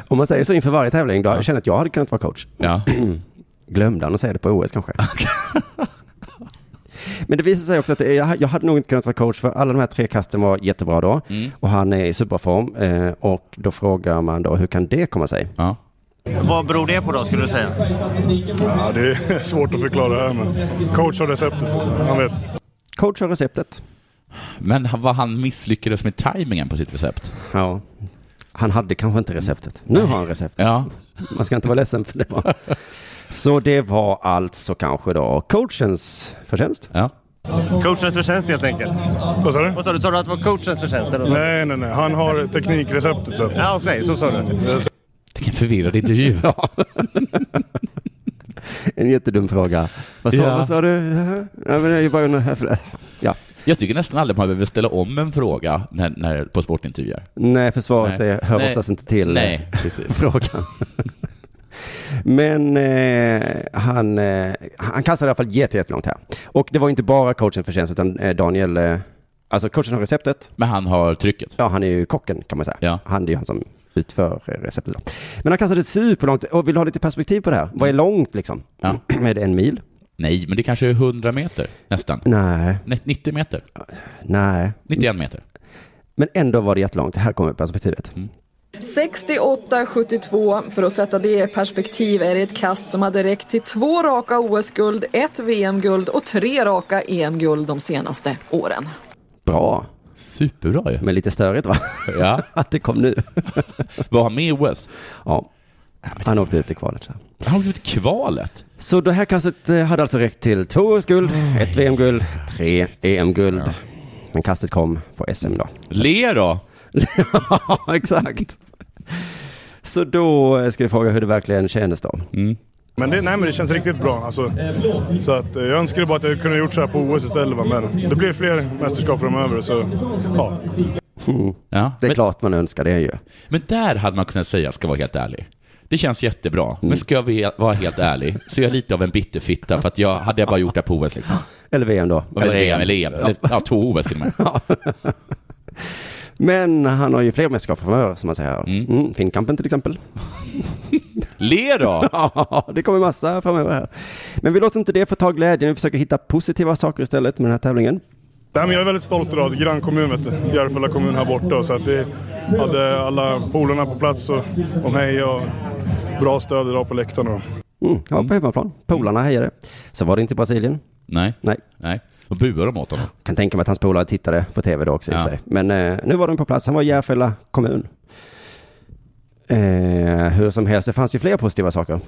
Om man säger så inför varje tävling, då jag känner att jag hade kunnat vara coach. Ja. Glömde han att säga det på OS kanske? Men det visade sig också att jag, jag hade nog inte kunnat vara coach för alla de här tre kasten var jättebra då. Mm. Och han är i superform. Eh, och då frågar man då, hur kan det komma sig? Vad beror det på då, skulle du säga? Ja, det är svårt att förklara det här men coach har receptet så han vet. Coach har receptet. Men han- vad han misslyckades med tajmingen på sitt recept. Ja. Han hade kanske inte receptet. Nu har han receptet. Ja. Man ska inte vara ledsen för det. Var. Så det var alltså kanske då coachens förtjänst. Ja. Coachens förtjänst helt enkelt. Vad sa du? Vad sa du? Sa du att det var coachens förtjänst? Eller? Nej, nej, nej. Han har teknikreceptet så att... Ja, okej. så sa du. Vilken förvirrad intervju. En jättedum fråga. Vad sa, Ja. vad sa du? Ja, men jag är bara undrar- ja. Jag tycker nästan aldrig man behöver ställa om en fråga när, när, på sportintervjuer. Nej, för svaret Nej. Är, hör Nej. oftast inte till eh, Nej, precis. frågan. Men eh, han, eh, han kastade i alla fall jätte- jättelångt här. Och det var inte bara coachens förtjänst, utan eh, Daniel, eh, alltså coachen har receptet. Men han har trycket. Ja, han är ju kocken kan man säga. Han det är ju han som utför eh, receptet. Då. Men han kastade superlångt. Och vill du ha lite perspektiv på det här? Vad är långt liksom? är det en mil? Nej, men det kanske är 100 meter nästan. Nej, Nej, 90 meter. nej. 91 meter. Men ändå var det jättelångt. Här kommer perspektivet. Mm. 68-72, för att sätta det i perspektiv, är det ett kast som hade räckt till två raka OS-guld, ett VM-guld och tre raka EM-guld de senaste åren. Bra. Superbra ju. Men lite störigt va? Ja. Att det kom nu. Var han med i OS? Ja. Han åkte ut i kvalet. så. Han åkte ut i kvalet? Så det här kastet eh, hade alltså räckt till två OS-guld, ett VM-guld, tre EM-guld. Men kastet kom på SM då. Le då! ja, exakt. Så då eh, ska vi fråga hur det verkligen kändes då. Men det, nej, men det känns riktigt bra. Alltså, så att, eh, jag önskar bara att jag kunde gjort så här på OS istället. va, Men det blir fler mästerskap framöver. Så, ja. Mm. Ja, det är klart man önskar det ju. Men där hade man kunnat säga, ska vara helt ärlig. Det känns jättebra, men ska jag ve- vara helt ärlig så är jag lite av en bitterfitta för att jag hade jag bara gjort det här på OS liksom. Eller E VM då. Eller VM, eller EM. Eller, ja, två OS till och med. Men han har ju fler mästerskap framöver som man säger. Mm. Finnkampen till exempel. Le då! Ja, det kommer massa framöver här. Men vi låter inte det förta glädjen, vi försöker hitta positiva saker istället med den här tävlingen. Nej, men jag är väldigt stolt idag. Grannkommun, vet du. Järfälla kommun här borta. Så att det hade alla polarna på plats och, och mig och bra stöd idag på läktaren. då. Mm, ja, på hemmaplan. Polarna hejade. Så var det inte i Brasilien. Nej. Nej. Nej. Då buar de åt honom. Kan tänka mig att hans polare tittade på tv då också i och Ja. för sig. Men eh, nu var de på plats. Han var i Järfälla kommun. Eh, hur som helst, det fanns ju fler positiva saker.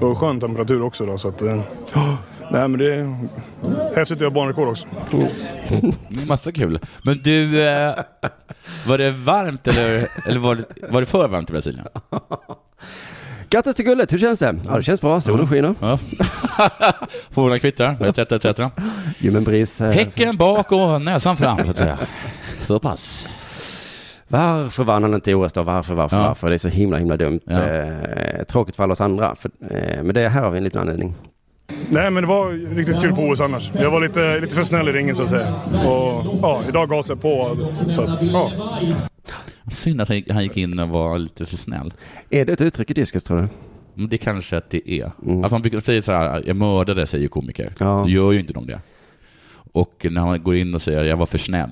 Det var skön temperatur också idag. Så att, eh, nej, men det är häftigt att göra banrekord också. Mm, Massa kul. Men du, eh, var det varmt eller, eller var, det, var det för varmt i Brasilien? Grattis till guldet, hur känns det? Ja, det känns bra. Solen skiner. Ja. Fåglarna kvittrar, etc. etc. Ljummen bris. eh, Häcken bak och näsan fram, så att säga. Så pass. Varför vann han inte i OS då? Varför, varför, Ja. varför? Det är så himla, himla dumt. Ja. Eh, tråkigt för alla oss andra. För, eh, men det här har vi en liten anledning. Nej, men det var riktigt kul på OS annars. Jag var lite, lite för snäll i ringen så att säga. Och ja, idag gasade jag på. Så att, ja. Synd att han gick- han gick in och var lite för snäll. Är det ett uttryck i diskus tror du? Men det kanske att det är. Alltså man brukar säga så här, jag mördade, säger komiker. Mm. Ja. Då gör ju inte de det. Och när man går in och säger, jag var för snäll.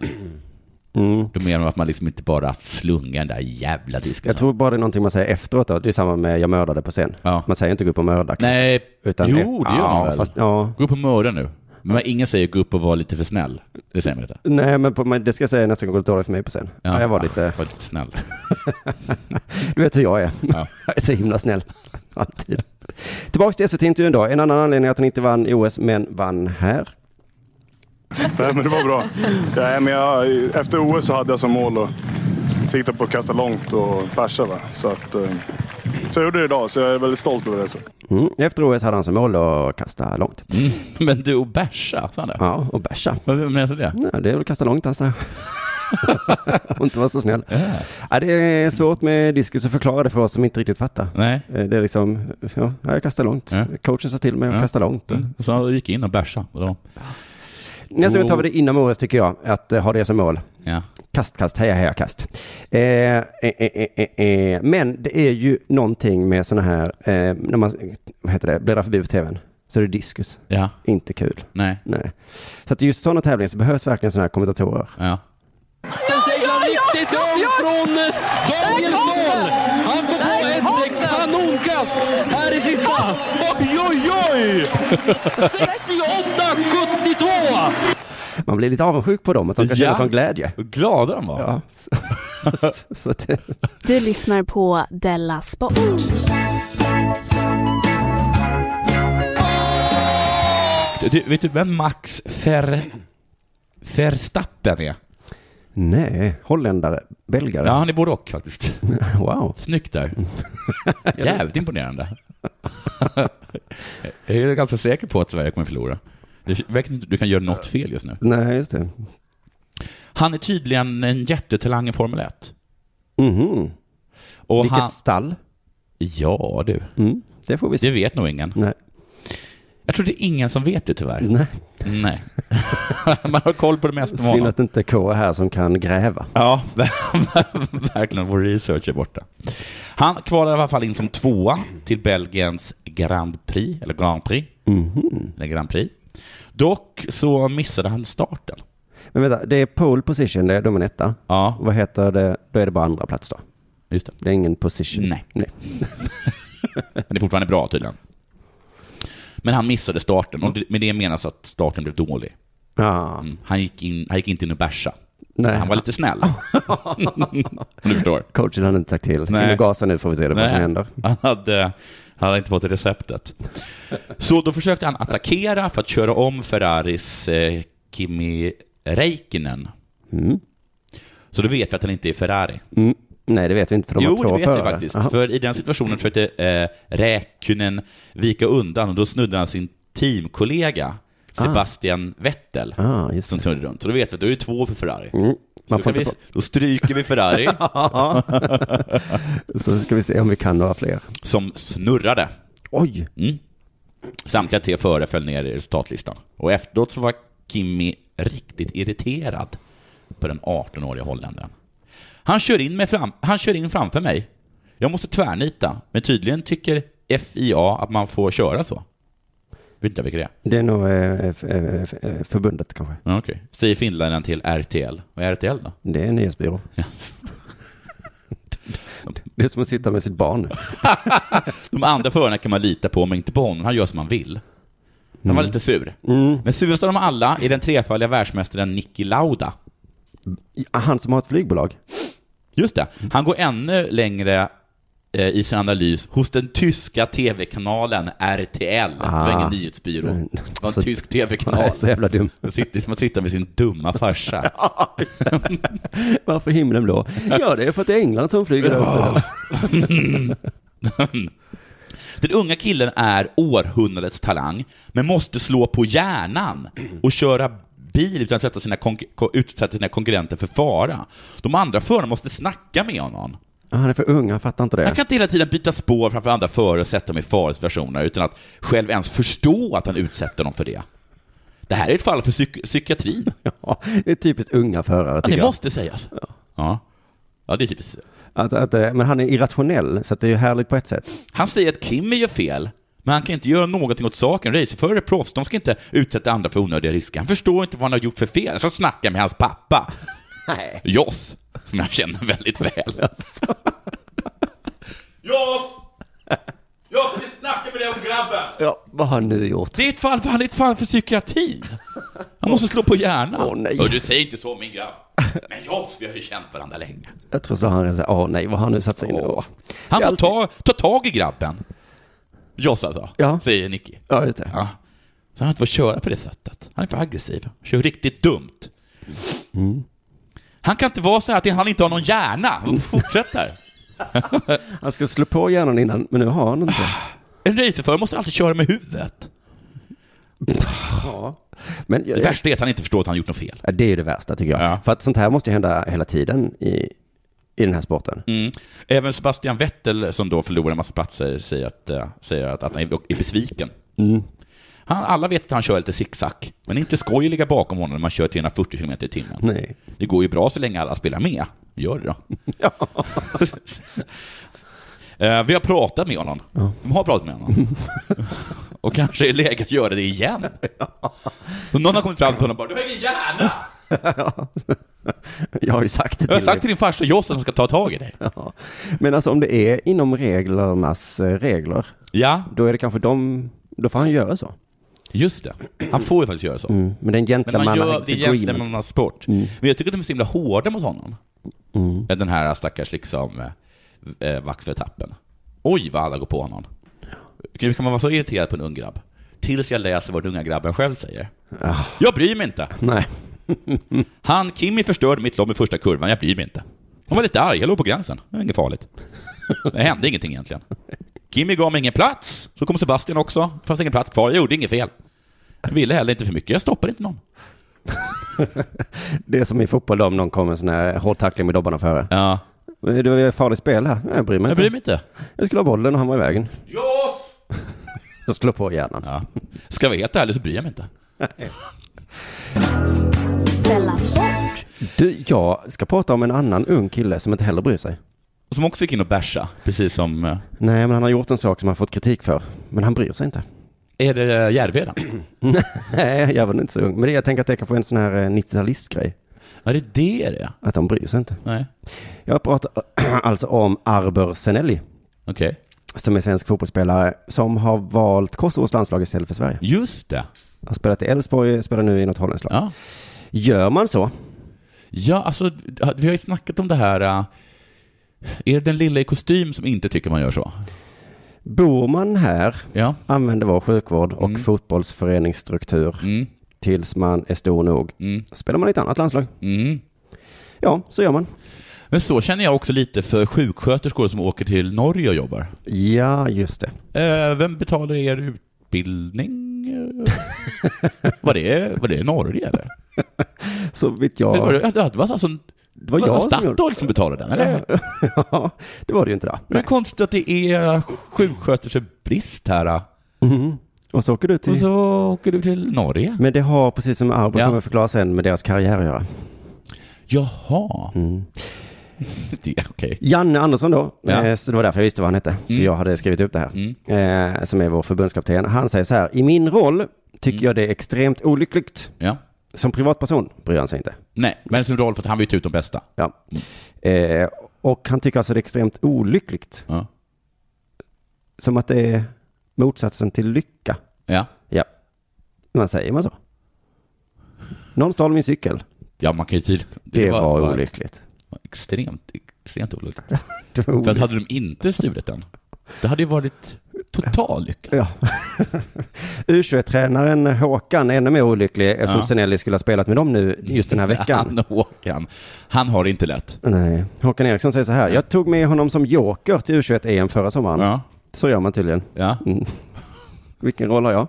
Mm. Då menar man att man liksom inte bara slungar den där jävla disken. Jag tror bara det är någonting man säger efteråt då. Det är samma med jag mördade på scen. Man säger inte gå upp och mörda. Nej, Utan- jo det gör Ja, man väl? fast- ja. Gå upp och mörda nu. Men ingen säger gå upp och vara lite för snäll. Det säger man inte. Nej, men, på, men det ska jag säga nästa gång det går dåligt för mig på scen. Ja, jag var lite... Ah, Var lite snäll. du vet hur jag är. Jag är så himla snäll. Alltid. Tillbaks till SVT-intervjun då. En annan anledning att han inte vann i OS, men vann här. Nej, men det var bra. Ja, men jag, efter OS så hade jag som mål att sikta på att kasta långt och persa. Va? Så, att, eh, så jag gjorde det idag, så jag är väldigt stolt över det. Så. Mm. Efter OS hade han som mål att kasta långt. Mm. Men du och bärsa, sa han det? Ja, och bärsa. Vad menar du det? Nej, det är väl kasta långt alltså. Och inte vara så snäll. Ja, det är svårt med diskus att förklara det för oss som inte riktigt fattar. Nej. Eh, Det är liksom, ja, jag kastar långt. Ja. Coachen sa till mig att Ja. kasta långt. Mm. Så han gick in och bärsa. Och då- Nästa gång tar vi det inom OS tycker jag, att eh, ha det som mål. Ja. Kast, kast, heja, heja, kast. Eh, eh, eh, eh, eh. Men det är ju någonting med sådana här, eh, när man, vad heter det, bläddrar förbi på tvn, så är det diskus. Ja. Inte kul. Nej. Nej. Så att i just sådana tävlingar så behövs verkligen sådana här kommentatorer. Ja. Den seglar riktigt långt från Daniel Ståhl. Han får på ett kanonkast här i sista. Oj, oj, oj! 68-72! Man blir lite avundsjuk på dem, att de kan Ja. känna sån glädje. Glada de var. Ja. Så- så att, Du lyssnar på Della Sport. Du, vet du vem Max Fer... Verstappen är? nej, holländare, belgare. Ja, han är både och faktiskt. Wow. Snyggt där. Jävligt imponerande. Jag är ganska säker på att Sverige kommer förlora. Det verkar inte- Du kan göra något fel just nu. Nej, just det. Han är tydligen en jättetalang i Formel 1. Mhm. Och Vilket han- stall? Mm. Ja du. det får vi Det vet nog ingen. Nej. Jag tror det är ingen som vet det tyvärr. Nej. Nej. Man har koll på det mesta om Synd honom. att inte K är här som kan gräva. Ja, verkligen. Vår research är borta. Han kvalar i alla fall in som tvåa till Belgiens Grand Prix, eller Grand Prix. Eller Grand Prix. Dock så missade han starten. Men vänta, det är pole position, det är de en etta. Ja. Vad heter det? Då är det bara andra plats då. Just det. Det är ingen position. Nej. Nej. Men det är fortfarande bra tydligen. Men han missade starten och det- med det menas att starten blev dålig. Mm. Han, gick in, han gick inte in och bärsa. Ah, Nej. Han var lite snäll. Om du förstår. Coachen hade inte sagt till. Nej. Nej. Nu gasar nu får vi se vad Nej, som händer. Han hade, han hade inte fått receptet. Så då försökte han attackera för att köra om Ferraris eh, Kimi Räikkönen. Så då vet vi att han inte är Ferrari. Mm. Nej, det vet vi inte för de jo, har två det vet förare. vi faktiskt. Jaha. För i den situationen försökte eh, Räikkönen vika undan och då snudde han sin teamkollega Sebastian Vettel Ah, just som snurrade runt. Så då vet vi att då är det två på Ferrari. Mm. Så Man då, får kan vi, inte då stryker vi Ferrari Så ska vi se om vi kan några fler. som snurrade. Oj! Mm. Samtliga tre före föll ner i resultatlistan. Och efteråt så var Kimi riktigt irriterad på den 18-åriga holländaren. Han kör in, med fram, han kör in framför mig. Jag måste tvärnita, men tydligen tycker FIA att man får köra så. Vet inte vilka det är. Det är nog eh, f- eh, f- eh, förbundet kanske. Ja, Okej. Säger finländaren till RTL. Vad är RTL då? Det är en nyhetsbyrå. Det är som att sitta med sitt barn. De andra förarna kan man lita på, men inte på honom. Han gör som han vill. Han var lite sur. Men surast av dem alla är den trefaldiga världsmästaren Niki Lauda. Han som har ett flygbolag? Just det. Han går ännu längre eh, i sin analys hos den tyska tv-kanalen RTL. Det var Ah. ingen nyhetsbyrå. Nej, Det var en så- tysk tv-kanal. Nej, så jävla dum. Det är som att sitta med sin dumma farsa. Varför himlen blå? Ja, det är för att det är England som flyger upp. Den unga killen är århundradets talang, men måste slå på hjärnan och köra bil utan att sätta sina, konk- ko- utsätta sina konkurrenter för fara. De andra förarna måste snacka med honom. Ah, Han är för ung, han fattar inte Han det. kan inte hela tiden byta spår framför andra förare och sätta dem i farosituationer utan att själv ens förstå att han utsätter dem för det. Det här är ett fall för psyk- psykiatrin. Ja, det är typiskt unga förare. det tycker jag. måste sägas. Ja. ja, det är typiskt. Att, att, eh, men han är irrationell, så att det är ju härligt på ett sätt. Han säger att Kimmy gör fel, men han kan inte göra någonting åt saken. Racerförare är proffs, de ska inte utsätta andra för onödiga risker. Han förstår inte vad han har gjort för fel, så snackar jag med hans pappa. Nej. Joss, som jag känner väldigt väl. Joss! Jag ska snacka med dig om grabben! Ja, vad har han nu gjort? Det är ett fall för, han är ett fall för psykiatrin. Han måste slå på hjärnan. Åh, nej. Och du säger inte så min grabb. Men Joss, vi har ju känt varandra länge. Jag tror så har han säger, åh nej, vad har han nu satt sig in i? Åh. Han får ta, ta tag i grabben. Joss alltså, säger Nicky. Ja, just det. Ja. Så han inte får köra på det sättet. Han är för aggressiv. Kör riktigt dumt. Mm. Han kan inte vara så här att han inte har någon hjärna. Han fortsätter. Han ska slå på hjärnan innan, men nu har han inte. En racerförare måste alltid köra med huvudet. Men, eh, Det värsta är att han inte förstår att han gjort något fel. Ja, det är ju det värsta tycker jag. För att sånt här måste ju hända hela tiden i, i den här sporten. Mm. Även Sebastian Vettel, som då förlorar en massa platser, säger att, eh, säger att, att han är är besviken. Mm. Han, alla vet att han kör lite zigzag, men det är inte skoj att ligga bakom honom när man kör 340 km i timmen. Nej. Det går ju bra så länge alla spelar med. Gör det då. Eh, Vi har pratat med honom. De har pratat med honom. Och kanske är läge att göra det igen. Så någon har kommit fram till honom och bara, du har ingen hjärna! Jag har ju sagt det Jag har sagt dig. till din farsa Joss att han ska ta tag i dig. Ja. Men alltså om det är inom reglernas eh, regler, ja. då är det kanske de, då får han göra så. Just det. Han får ju faktiskt göra så. Mm. Men det är en Men man gentleman gör det agreement. egentligen med hans sport. Men jag tycker att de är så himla hårda mot honom. Mm. Den här stackars liksom eh, Max Verstappen. Oj vad alla går på honom. Hur kan man vara så irriterad på en ung grabb? Tills jag läser vad den unga grabben själv säger. Ah. Jag bryr mig inte. Nej. Han, Kimmy förstörde mitt lopp i första kurvan, jag bryr mig inte. Hon var lite arg, jag låg på gränsen. Det var inget farligt. Det hände ingenting egentligen. Kimmy gav mig ingen plats, så kom Sebastian också. Det fanns ingen plats kvar, jag gjorde inget fel. Jag ville heller inte för mycket, jag stoppade inte någon. Det är som i fotboll då, om någon kommer en sån här hård tackling med dobbarna före. Ja. Eh, Det var ju farligt spel här. Nej, Jag bryr mig Jag inte. bryr mig inte. Jag skulle ha bollen och han var i vägen. Jag slår på hjärnan. Ja. Ska jag vara helt ärlig så bryr jag mig inte. Du, jag ska prata om en annan ung kille som inte heller bryr sig. Som också gick in och bärsa, precis som... eh, Nej, men han har gjort en sak som han fått kritik för. Men han bryr sig inte. Är det eh, Järveda? Nej, jag var inte så ung. Men det, jag tänker att det kanske är en sån här eh, 90-talistgrej. Ja, det är det det är. Att de bryr sig inte. Nej. Jag pratar alltså om Arber Senelli. Okej. Som är svensk fotbollsspelare som har valt Kosovos landslag istället för Sverige. Just det. Har spelat i Elfsborg, spelar nu i något holländskt lag. Ja. Gör man så? Ja, alltså, vi har ju snackat om det här... eh, Är det den lilla i kostym som inte tycker man gör så? Bor man här, ja. använder vår sjukvård och Mm. fotbollsföreningsstruktur tills man är stor nog, Mm. spelar man i ett annat landslag. Ja, så gör man. Men så känner jag också lite för sjuksköterskor som åker till Norge och jobbar. Ja, just det. Eh, vem betalar er utbildning? Eh, var, det, var det Norge eller? Så vitt Det var, jag... det- det var alltså, Det var jag som Statoil som, gjorde- betalade den, eller? ja, det var det ju inte då. Men det är konstigt att det är sjuksköterskebrist här. eh. Mhm. Och så åker du till... Och så åker du till Norge. Men det har, precis som Arbo Ja. kommer förklara sen, med deras karriär att göra. Jaha. Mm. Det är Okej. Janne Andersson då, Ja. Mm. eh, så det var därför jag visste vad han hette, för jag hade skrivit upp det här, eh, som är vår förbundskapten. Han säger så här, i min roll Mm. tycker jag det är extremt olyckligt. Som privatperson bryr han sig inte. Nej, men sin roll för att han vill ta ut de bästa. Ja. Eh, och han tycker alltså det är extremt olyckligt. Som att det är motsatsen till lycka. Ja. Ja. Man säger man så? Någon stal min cykel. Ja, man kan ju tydligt. Det, var, olyckligt. var Extremt, extremt olyckligt. var För att olyckligt. hade de inte stulit den, det hade ju varit total lycka. Ja. U21-tränaren Håkan är ännu mer olycklig eftersom Ja. Senelli skulle ha spelat med dem nu just den här veckan. Han, Håkan, han har det inte lätt. Nej. Håkan Eriksson säger så här. Jag tog med honom som joker till U21-EM förra sommaren. Så gör man tydligen. Ja. Mm. Vilken roll har jag?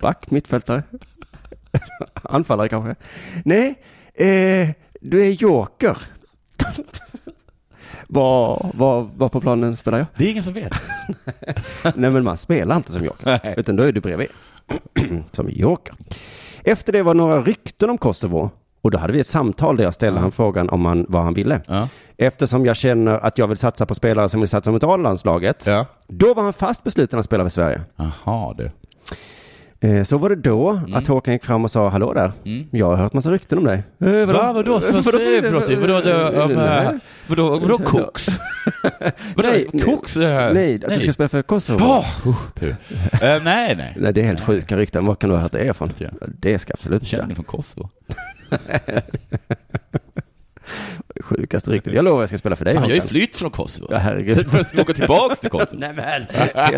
Back, mittfältare? Anfallare kanske? Nej, eh, du är joker. Vad vad- vad på planen spelar jag? Det är ingen som vet. Nej, men man spelar inte som joker, utan då är du bredvid. som joker. Efter det var några rykten om Kosovo och då hade vi ett samtal där jag ställde han frågan om han, vad han ville. Eftersom jag känner att jag vill satsa på spelare som vill satsa mot A-landslaget, då var han fast besluten att spela för Sverige. Aha, du. Eh, Så var det då att Håkan gick fram och sa hallå där. Mm. Jag har hört massa rykten om dig. Eh, Va, vadå, så, vad säger du för någonting? Vadå, det, om, Nej. eh, vadå, vadå koks? Vadå, koks? eh, Nej, att du ska spela för Kosovo. Ja, Ah, puh. Eh, nej, nej. Nej, det är helt sjuka rykten. Var kan du ha hört det ifrån? Ja, Det ska absolut inte. Känner ni från Kosovo? Sjukaste ryktet. Jag lovar jag ska spela för dig. Fan, jag har ju Håkan. flytt från Kosovo. Ja, herregud. Jag ska åka tillbaks till Kosovo. Nej,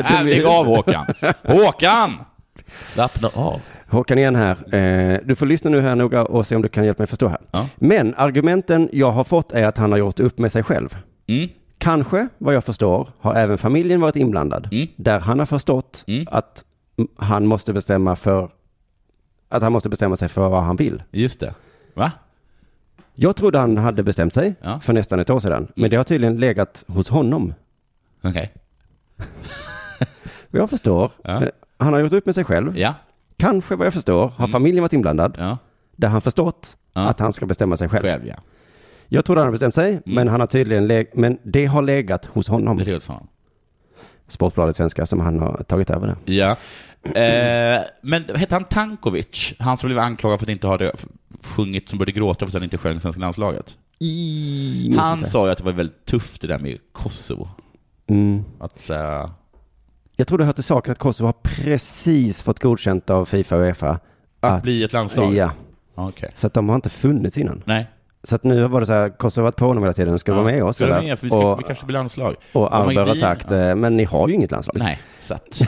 men. Lägg av Håkan. Håkan! Slappna av. Håkan igen här. Eh, Du får lyssna nu här noga och se om du kan hjälpa mig förstå här. Men argumenten jag har fått är att han har gjort upp med sig själv. Mm. Kanske, vad jag förstår, har även familjen varit inblandad. Där han har förstått att m- han måste bestämma för att han måste bestämma sig för vad han vill. Just det. Va? Jag trodde han hade bestämt sig för nästan ett år sedan, men det har tydligen legat hos honom. Okej. Jag förstår. Eh, Han har gjort upp med sig själv. Kanske, vad jag förstår, har familjen varit inblandad. Där han förstått att han ska bestämma sig själv. Själv, ja. Jag trodde han hade bestämt sig, men han har tydligen leg- men det har legat hos honom. Det är hos honom. Sportbladet Svenska som han har tagit över det. Ja. Eh, men hette han Tankovic? Han som blev anklagad för att inte ha det- sjungit som började gråta för att han inte sjöng svenska landslaget. minns Han inte. sa ju att det var väldigt tufft det där med Kosovo. Mm. Att, eh, Jag tror det hör till saken att Kosovo har precis fått godkänt av Fifa och Uefa. Att bli ett landslag? Ah, Ja. Okej. Så att de har inte funnits innan. Nej. Så att nu var det så här, Kosovo har varit på honom hela tiden, ska du Ja, vara med oss? ska du vara eller? med? För vi ska- vi kanske blir landslag. Och De har ju Arber har blivit- sagt, eh, men ni har ju inget landslag. Nej, så att... så,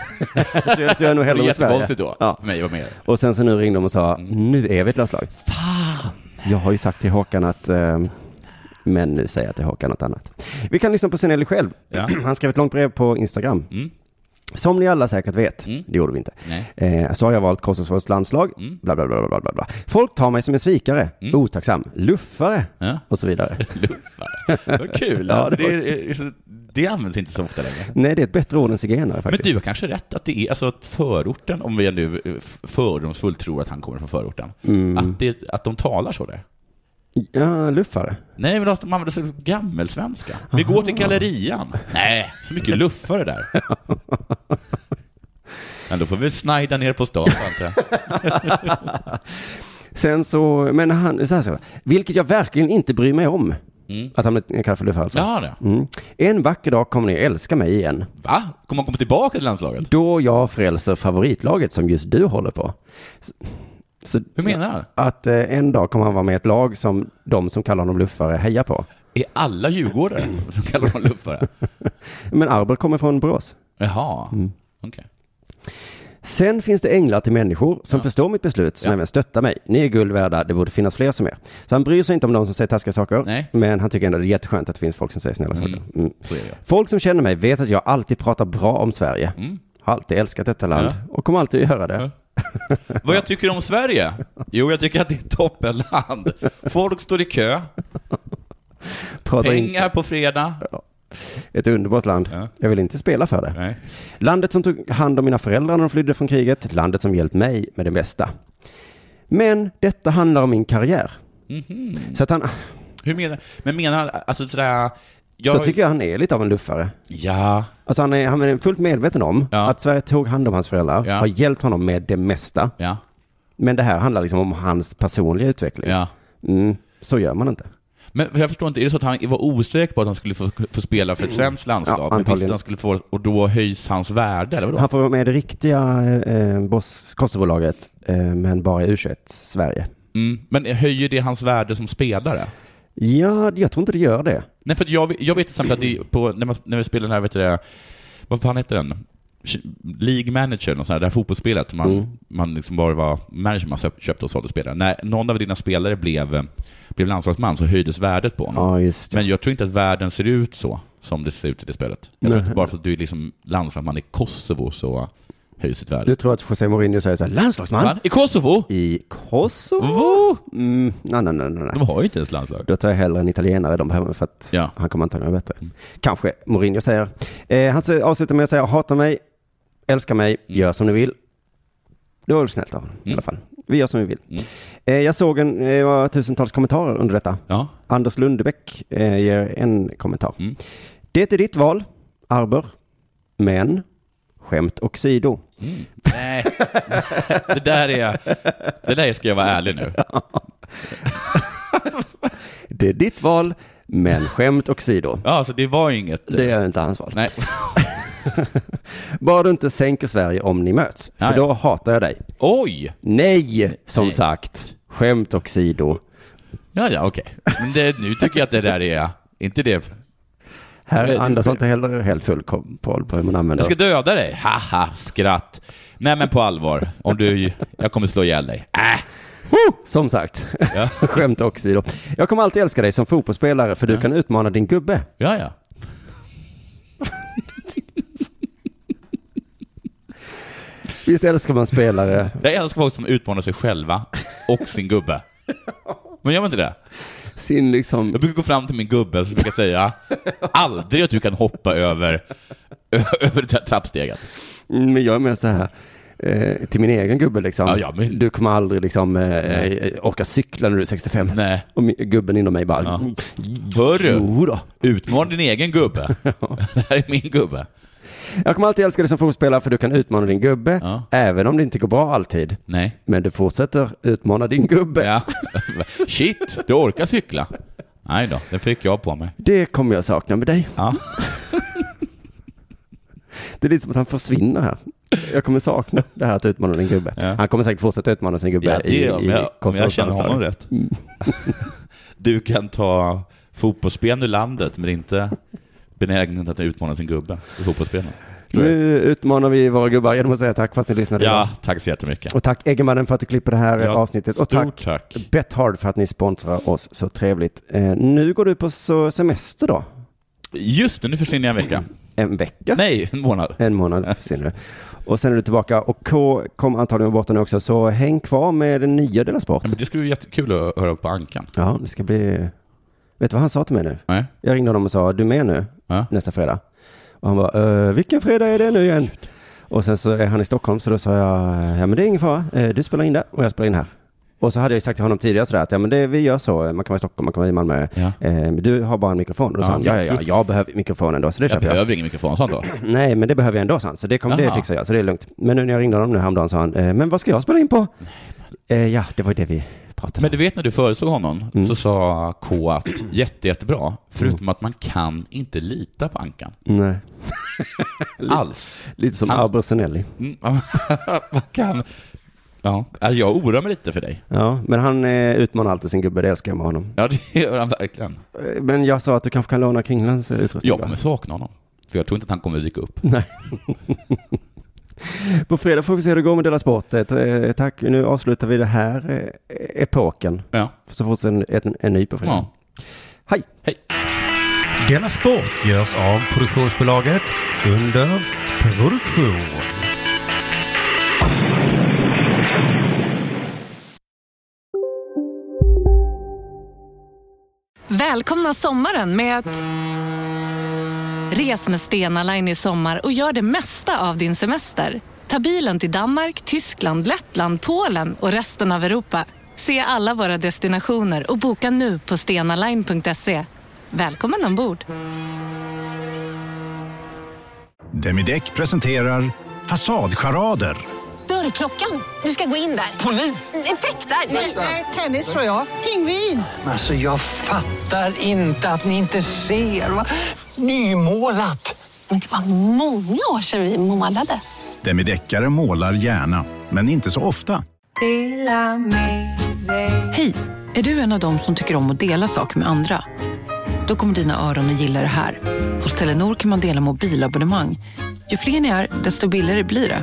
jag, så jag är nog hellre med Sverige. Jättekonstigt då, Mm. för mig att vara med. Och sen så nu ringde de och sa, nu är vi ett landslag. Fan! Jag har ju sagt till Håkan att, eh, men nu säger jag till Håkan något annat. Vi kan lyssna på Senelli själv. Han skrev ett långt brev på Instagram. Mm. Som ni alla säkert vet, det gjorde vi inte, eh, så har jag valt Kosovos landslag, Mm. bla, bla, bla, bla, bla, bla. Folk tar mig som en svikare, otacksam, luffare och så vidare. luffare, Vad kul! ja, det, var- det, det används inte så ofta längre. Nej, det är ett bättre ord än zigenare Men faktiskt. du har kanske rätt att det är, alltså att förorten, om vi nu eh, f- fördomsfullt tror att han kommer från förorten, Mm. att, det, att de talar så där. Ja, luffare. Nej, men att de använder sig av gammelsvenska. Vi går till gallerian. Nej, så mycket luffare där. Men då får vi snajda ner på stan, antar jag. Sen så, men han, så här, så här, vilket jag verkligen inte bryr mig om. Mm. Att han blev kallad för luffare alltså. Ja, mm. En vacker dag kommer ni älska mig igen. Va? Kommer han komma tillbaka till landslaget? Då jag frälser favoritlaget som just du håller på. Så- Så, Hur menar han? Att eh, en dag kommer han vara med i ett lag som de som kallar honom luffare hejar på. Är alla djurgårdare som kallar honom luffare? Men Arber kommer från Borås. Jaha, okej. Sen finns det änglar till människor som förstår mitt beslut, som även stöttar mig. Ni är guld värda, det borde finnas fler som er. Så han bryr sig inte om de som säger taskiga saker, men han tycker ändå det är jätteskönt att det finns folk som säger snälla saker. Mm. Så är det. Folk som känner mig vet att jag alltid pratar bra om Sverige. Mm. Har alltid älskat detta land och kommer alltid göra det. Vad jag tycker om Sverige? Jo, jag tycker att det är ett toppenland. Folk står i kö, Pratar in- pengar på fredag. Ett underbart land. Jag vill inte spela för det. Landet som tog hand om mina föräldrar när de flydde från kriget. Landet som hjälpt mig med det mesta. Men detta handlar om min karriär. Mhm. Så att han... Hur menar, men menar han, alltså sådär... Då tycker jag han är lite av en luffare. Ja. Alltså han är, han är fullt medveten om att Sverige tog hand om hans föräldrar, Ja. har hjälpt honom med det mesta. Ja. Men det här handlar liksom om hans personliga utveckling. Mm, så gör man inte. Men jag förstår inte, är det så att han var osäker på att han skulle få, få spela för ett svenskt landslag? men visste antagligen. att han skulle få, och då höjs hans värde, eller vadå? Han får vara med i det riktiga eh, Bos- Kosovo-laget, eh, men bara i U21 Sverige. Mm. Men höjer det hans värde som spelare? Ja, jag tror inte det gör det. Nej, för att jag, jag vet till exempel att det, är på, när, man, när vi spelar den här, vet du det, vad fan heter den? League Manager, och sånt här, det här fotbollsspelet som man, Mm. man liksom bara var manager man köp- köpte och sålde spelare. När någon av dina spelare blev, blev landslagsman så höjdes värdet på honom. Men jag tror inte att världen ser ut så som det ser ut i det spelet. Jag tror Nej. inte bara för att du är liksom landslagsman i Kosovo så höjs ditt värde. Du tror att José Mourinho säger så här, Va? landslagsman? I Kosovo? I Kosovo? Mm, nej, nej, nej, nej. De har ju inte ens landslag. Då tar jag hellre en italienare de behöver för att han kommer antagligen vara bättre. Kanske Mourinho säger. Eh, han säger- avslutar med att säga, hata mig, älska mig, gör som ni vill. Det var väl snällt av honom i alla fall. Vi gör som vi vill. Eh, jag såg en, eh, var tusentals kommentarer under detta. Anders Lundebäck eh, ger en kommentar. Det är ditt val, Arber, men skämt åsido. Nej, det där är... Det där ska jag vara ärlig nu. Det är ditt val, men skämt åsido. Ja, så det var inget... eh, Det är inte hans val. Nej. Bara du inte sänker Sverige om ni möts, för Nej. då hatar jag dig. Oj! Nej, som sagt. Skämt åsido. Ja, ja, okej. Men det, nu tycker jag att det där är... Inte det... Här Eh, andas inte heller helt full kom- koll på hur man använder. Jag ska döda dig. Haha, skratt. Nej, men på allvar. Om du... Jag kommer slå ihjäl dig. Äh. Ho! Som sagt, skämt åsido. Jag kommer alltid älska dig som fotbollsspelare för du kan utmana din gubbe. Ja, ja. Visst älskar man spelare? Jag älskar folk som utmanar sig själva och sin gubbe. Men gör man inte det? Sin liksom... Jag brukar gå fram till min gubbe och brukar säga aldrig att du kan hoppa över, över det här trappsteget. Mm, Men jag är mer så här. Eh, till min egen gubbe liksom. Ja, ja, men- Du kommer aldrig liksom eh, eh, orka cykla när du är 65. Nej. Och min- gubben inom mig bara. Ja. Hörru, Jo då. utmana din egen gubbe. Det här är min gubbe. Jag kommer alltid älska dig som fotbollsspelare för du kan utmana din gubbe. Även om det inte går bra alltid. Nej. Men du fortsätter utmana din gubbe. Ja. Shit, du orkar cykla. Nej då, den fick jag på mig. Det kommer jag sakna med dig. Det är lite som att han försvinner här. Jag kommer sakna det här att utmana din gubbe. Han kommer säkert fortsätta utmana sin gubbe Ja, det i, är, om jag, om jag Kosovos känner honom landslag. rätt. Du kan ta fotbollsspelaren ur landet, men inte benägenheten att utmana sin gubbe i fotbollsspelen. Nu utmanar vi våra gubbar genom att säga tack för att ni lyssnade. Ja, idag. tack så jättemycket. Och tack Eggemannen för att du klipper det här Ja, avsnittet. Och stort tack, tack. Bethard för att ni sponsrar oss så trevligt. Eh, nu går du på så semester då? Just det, nu försvinner jag en vecka. En vecka? Nej, en månad. En månad försvinner du. Och sen är du tillbaka. Och K kommer antagligen vara borta nu också. Så häng kvar med den nya Dela Sport. Men det skulle bli jättekul att höra på Ankan. Ja, det ska bli... Vet du vad han sa till mig nu? Nej. Jag ringde honom och sa, du är med nu nästa fredag? Och han bara, "Eh, vilken fredag är det nu igen? Och sen så är han i Stockholm, så då sa jag, ja men det är ingen fara, Eh, du spelar in där och jag spelar in här. Och så hade jag ju sagt till honom tidigare sådär att ja men det, vi gör så, man kan vara i Stockholm, man kan vara i Malmö. Eh, men du har bara en mikrofon. Och då sa Ja, han, ja, ja, ja, jag- jag behöver mikrofonen då, så det Jag köper jag. behöver ingen mikrofon, sa han då. Nej, men det behöver jag ändå, sa han. Så det, kom, det Jaha. fixar jag, så det är lugnt. Men nu när jag ringde honom nu häromdagen sa han, eh, men vad ska jag spela in på? Eh, ja, det var ju det vi pratade om. Men du vet när du föreslog honom Mm. så sa K att jätte, jättebra, förutom att man kan inte lita på Ankan. Nej. Alls. Lite som Han- Abbe Senelli. Mm, man kan... Ja, alltså, jag oroar mig lite för dig. Ja, men han eh, utmanar alltid sin gubbe, det älskar jag med honom. Ja, det gör han verkligen. Eh, Men jag sa att du kanske kan låna Kringlands eh, utrustning? Jag då? kommer sakna honom. För jag tror inte att han kommer dyka upp. Nej. På fredag får vi se hur det går med Dela Sport. Eh, tack, nu avslutar vi det här eh, epoken. Ja. Så får vi en, en, en ny på fredag. Hej! Hej! Denna sport görs av produktionsbolaget under produktion. Välkomna sommaren med att... Res med Stena Line i sommar och gör det mesta av din semester. Ta bilen till Danmark, Tyskland, Lettland, Polen och resten av Europa. Se alla våra destinationer och boka nu på stenaline.se. Välkommen ombord! Demideck presenterar Fasadcharader. Dörrklockan. Du ska gå in där. Polis? Effektar? Nej, nej, tennis tror jag. Pingvin. Alltså jag fattar inte att ni inte ser. Va? Nymålat. Men det var många år sedan vi målade. Demideckare målar gärna, men inte så ofta. Hej! Är du en av dem som tycker om att dela saker med andra? Då kommer dina öron att gilla det här. Hos Telenor kan man dela mobilabonnemang. Ju fler ni är, desto billigare blir det.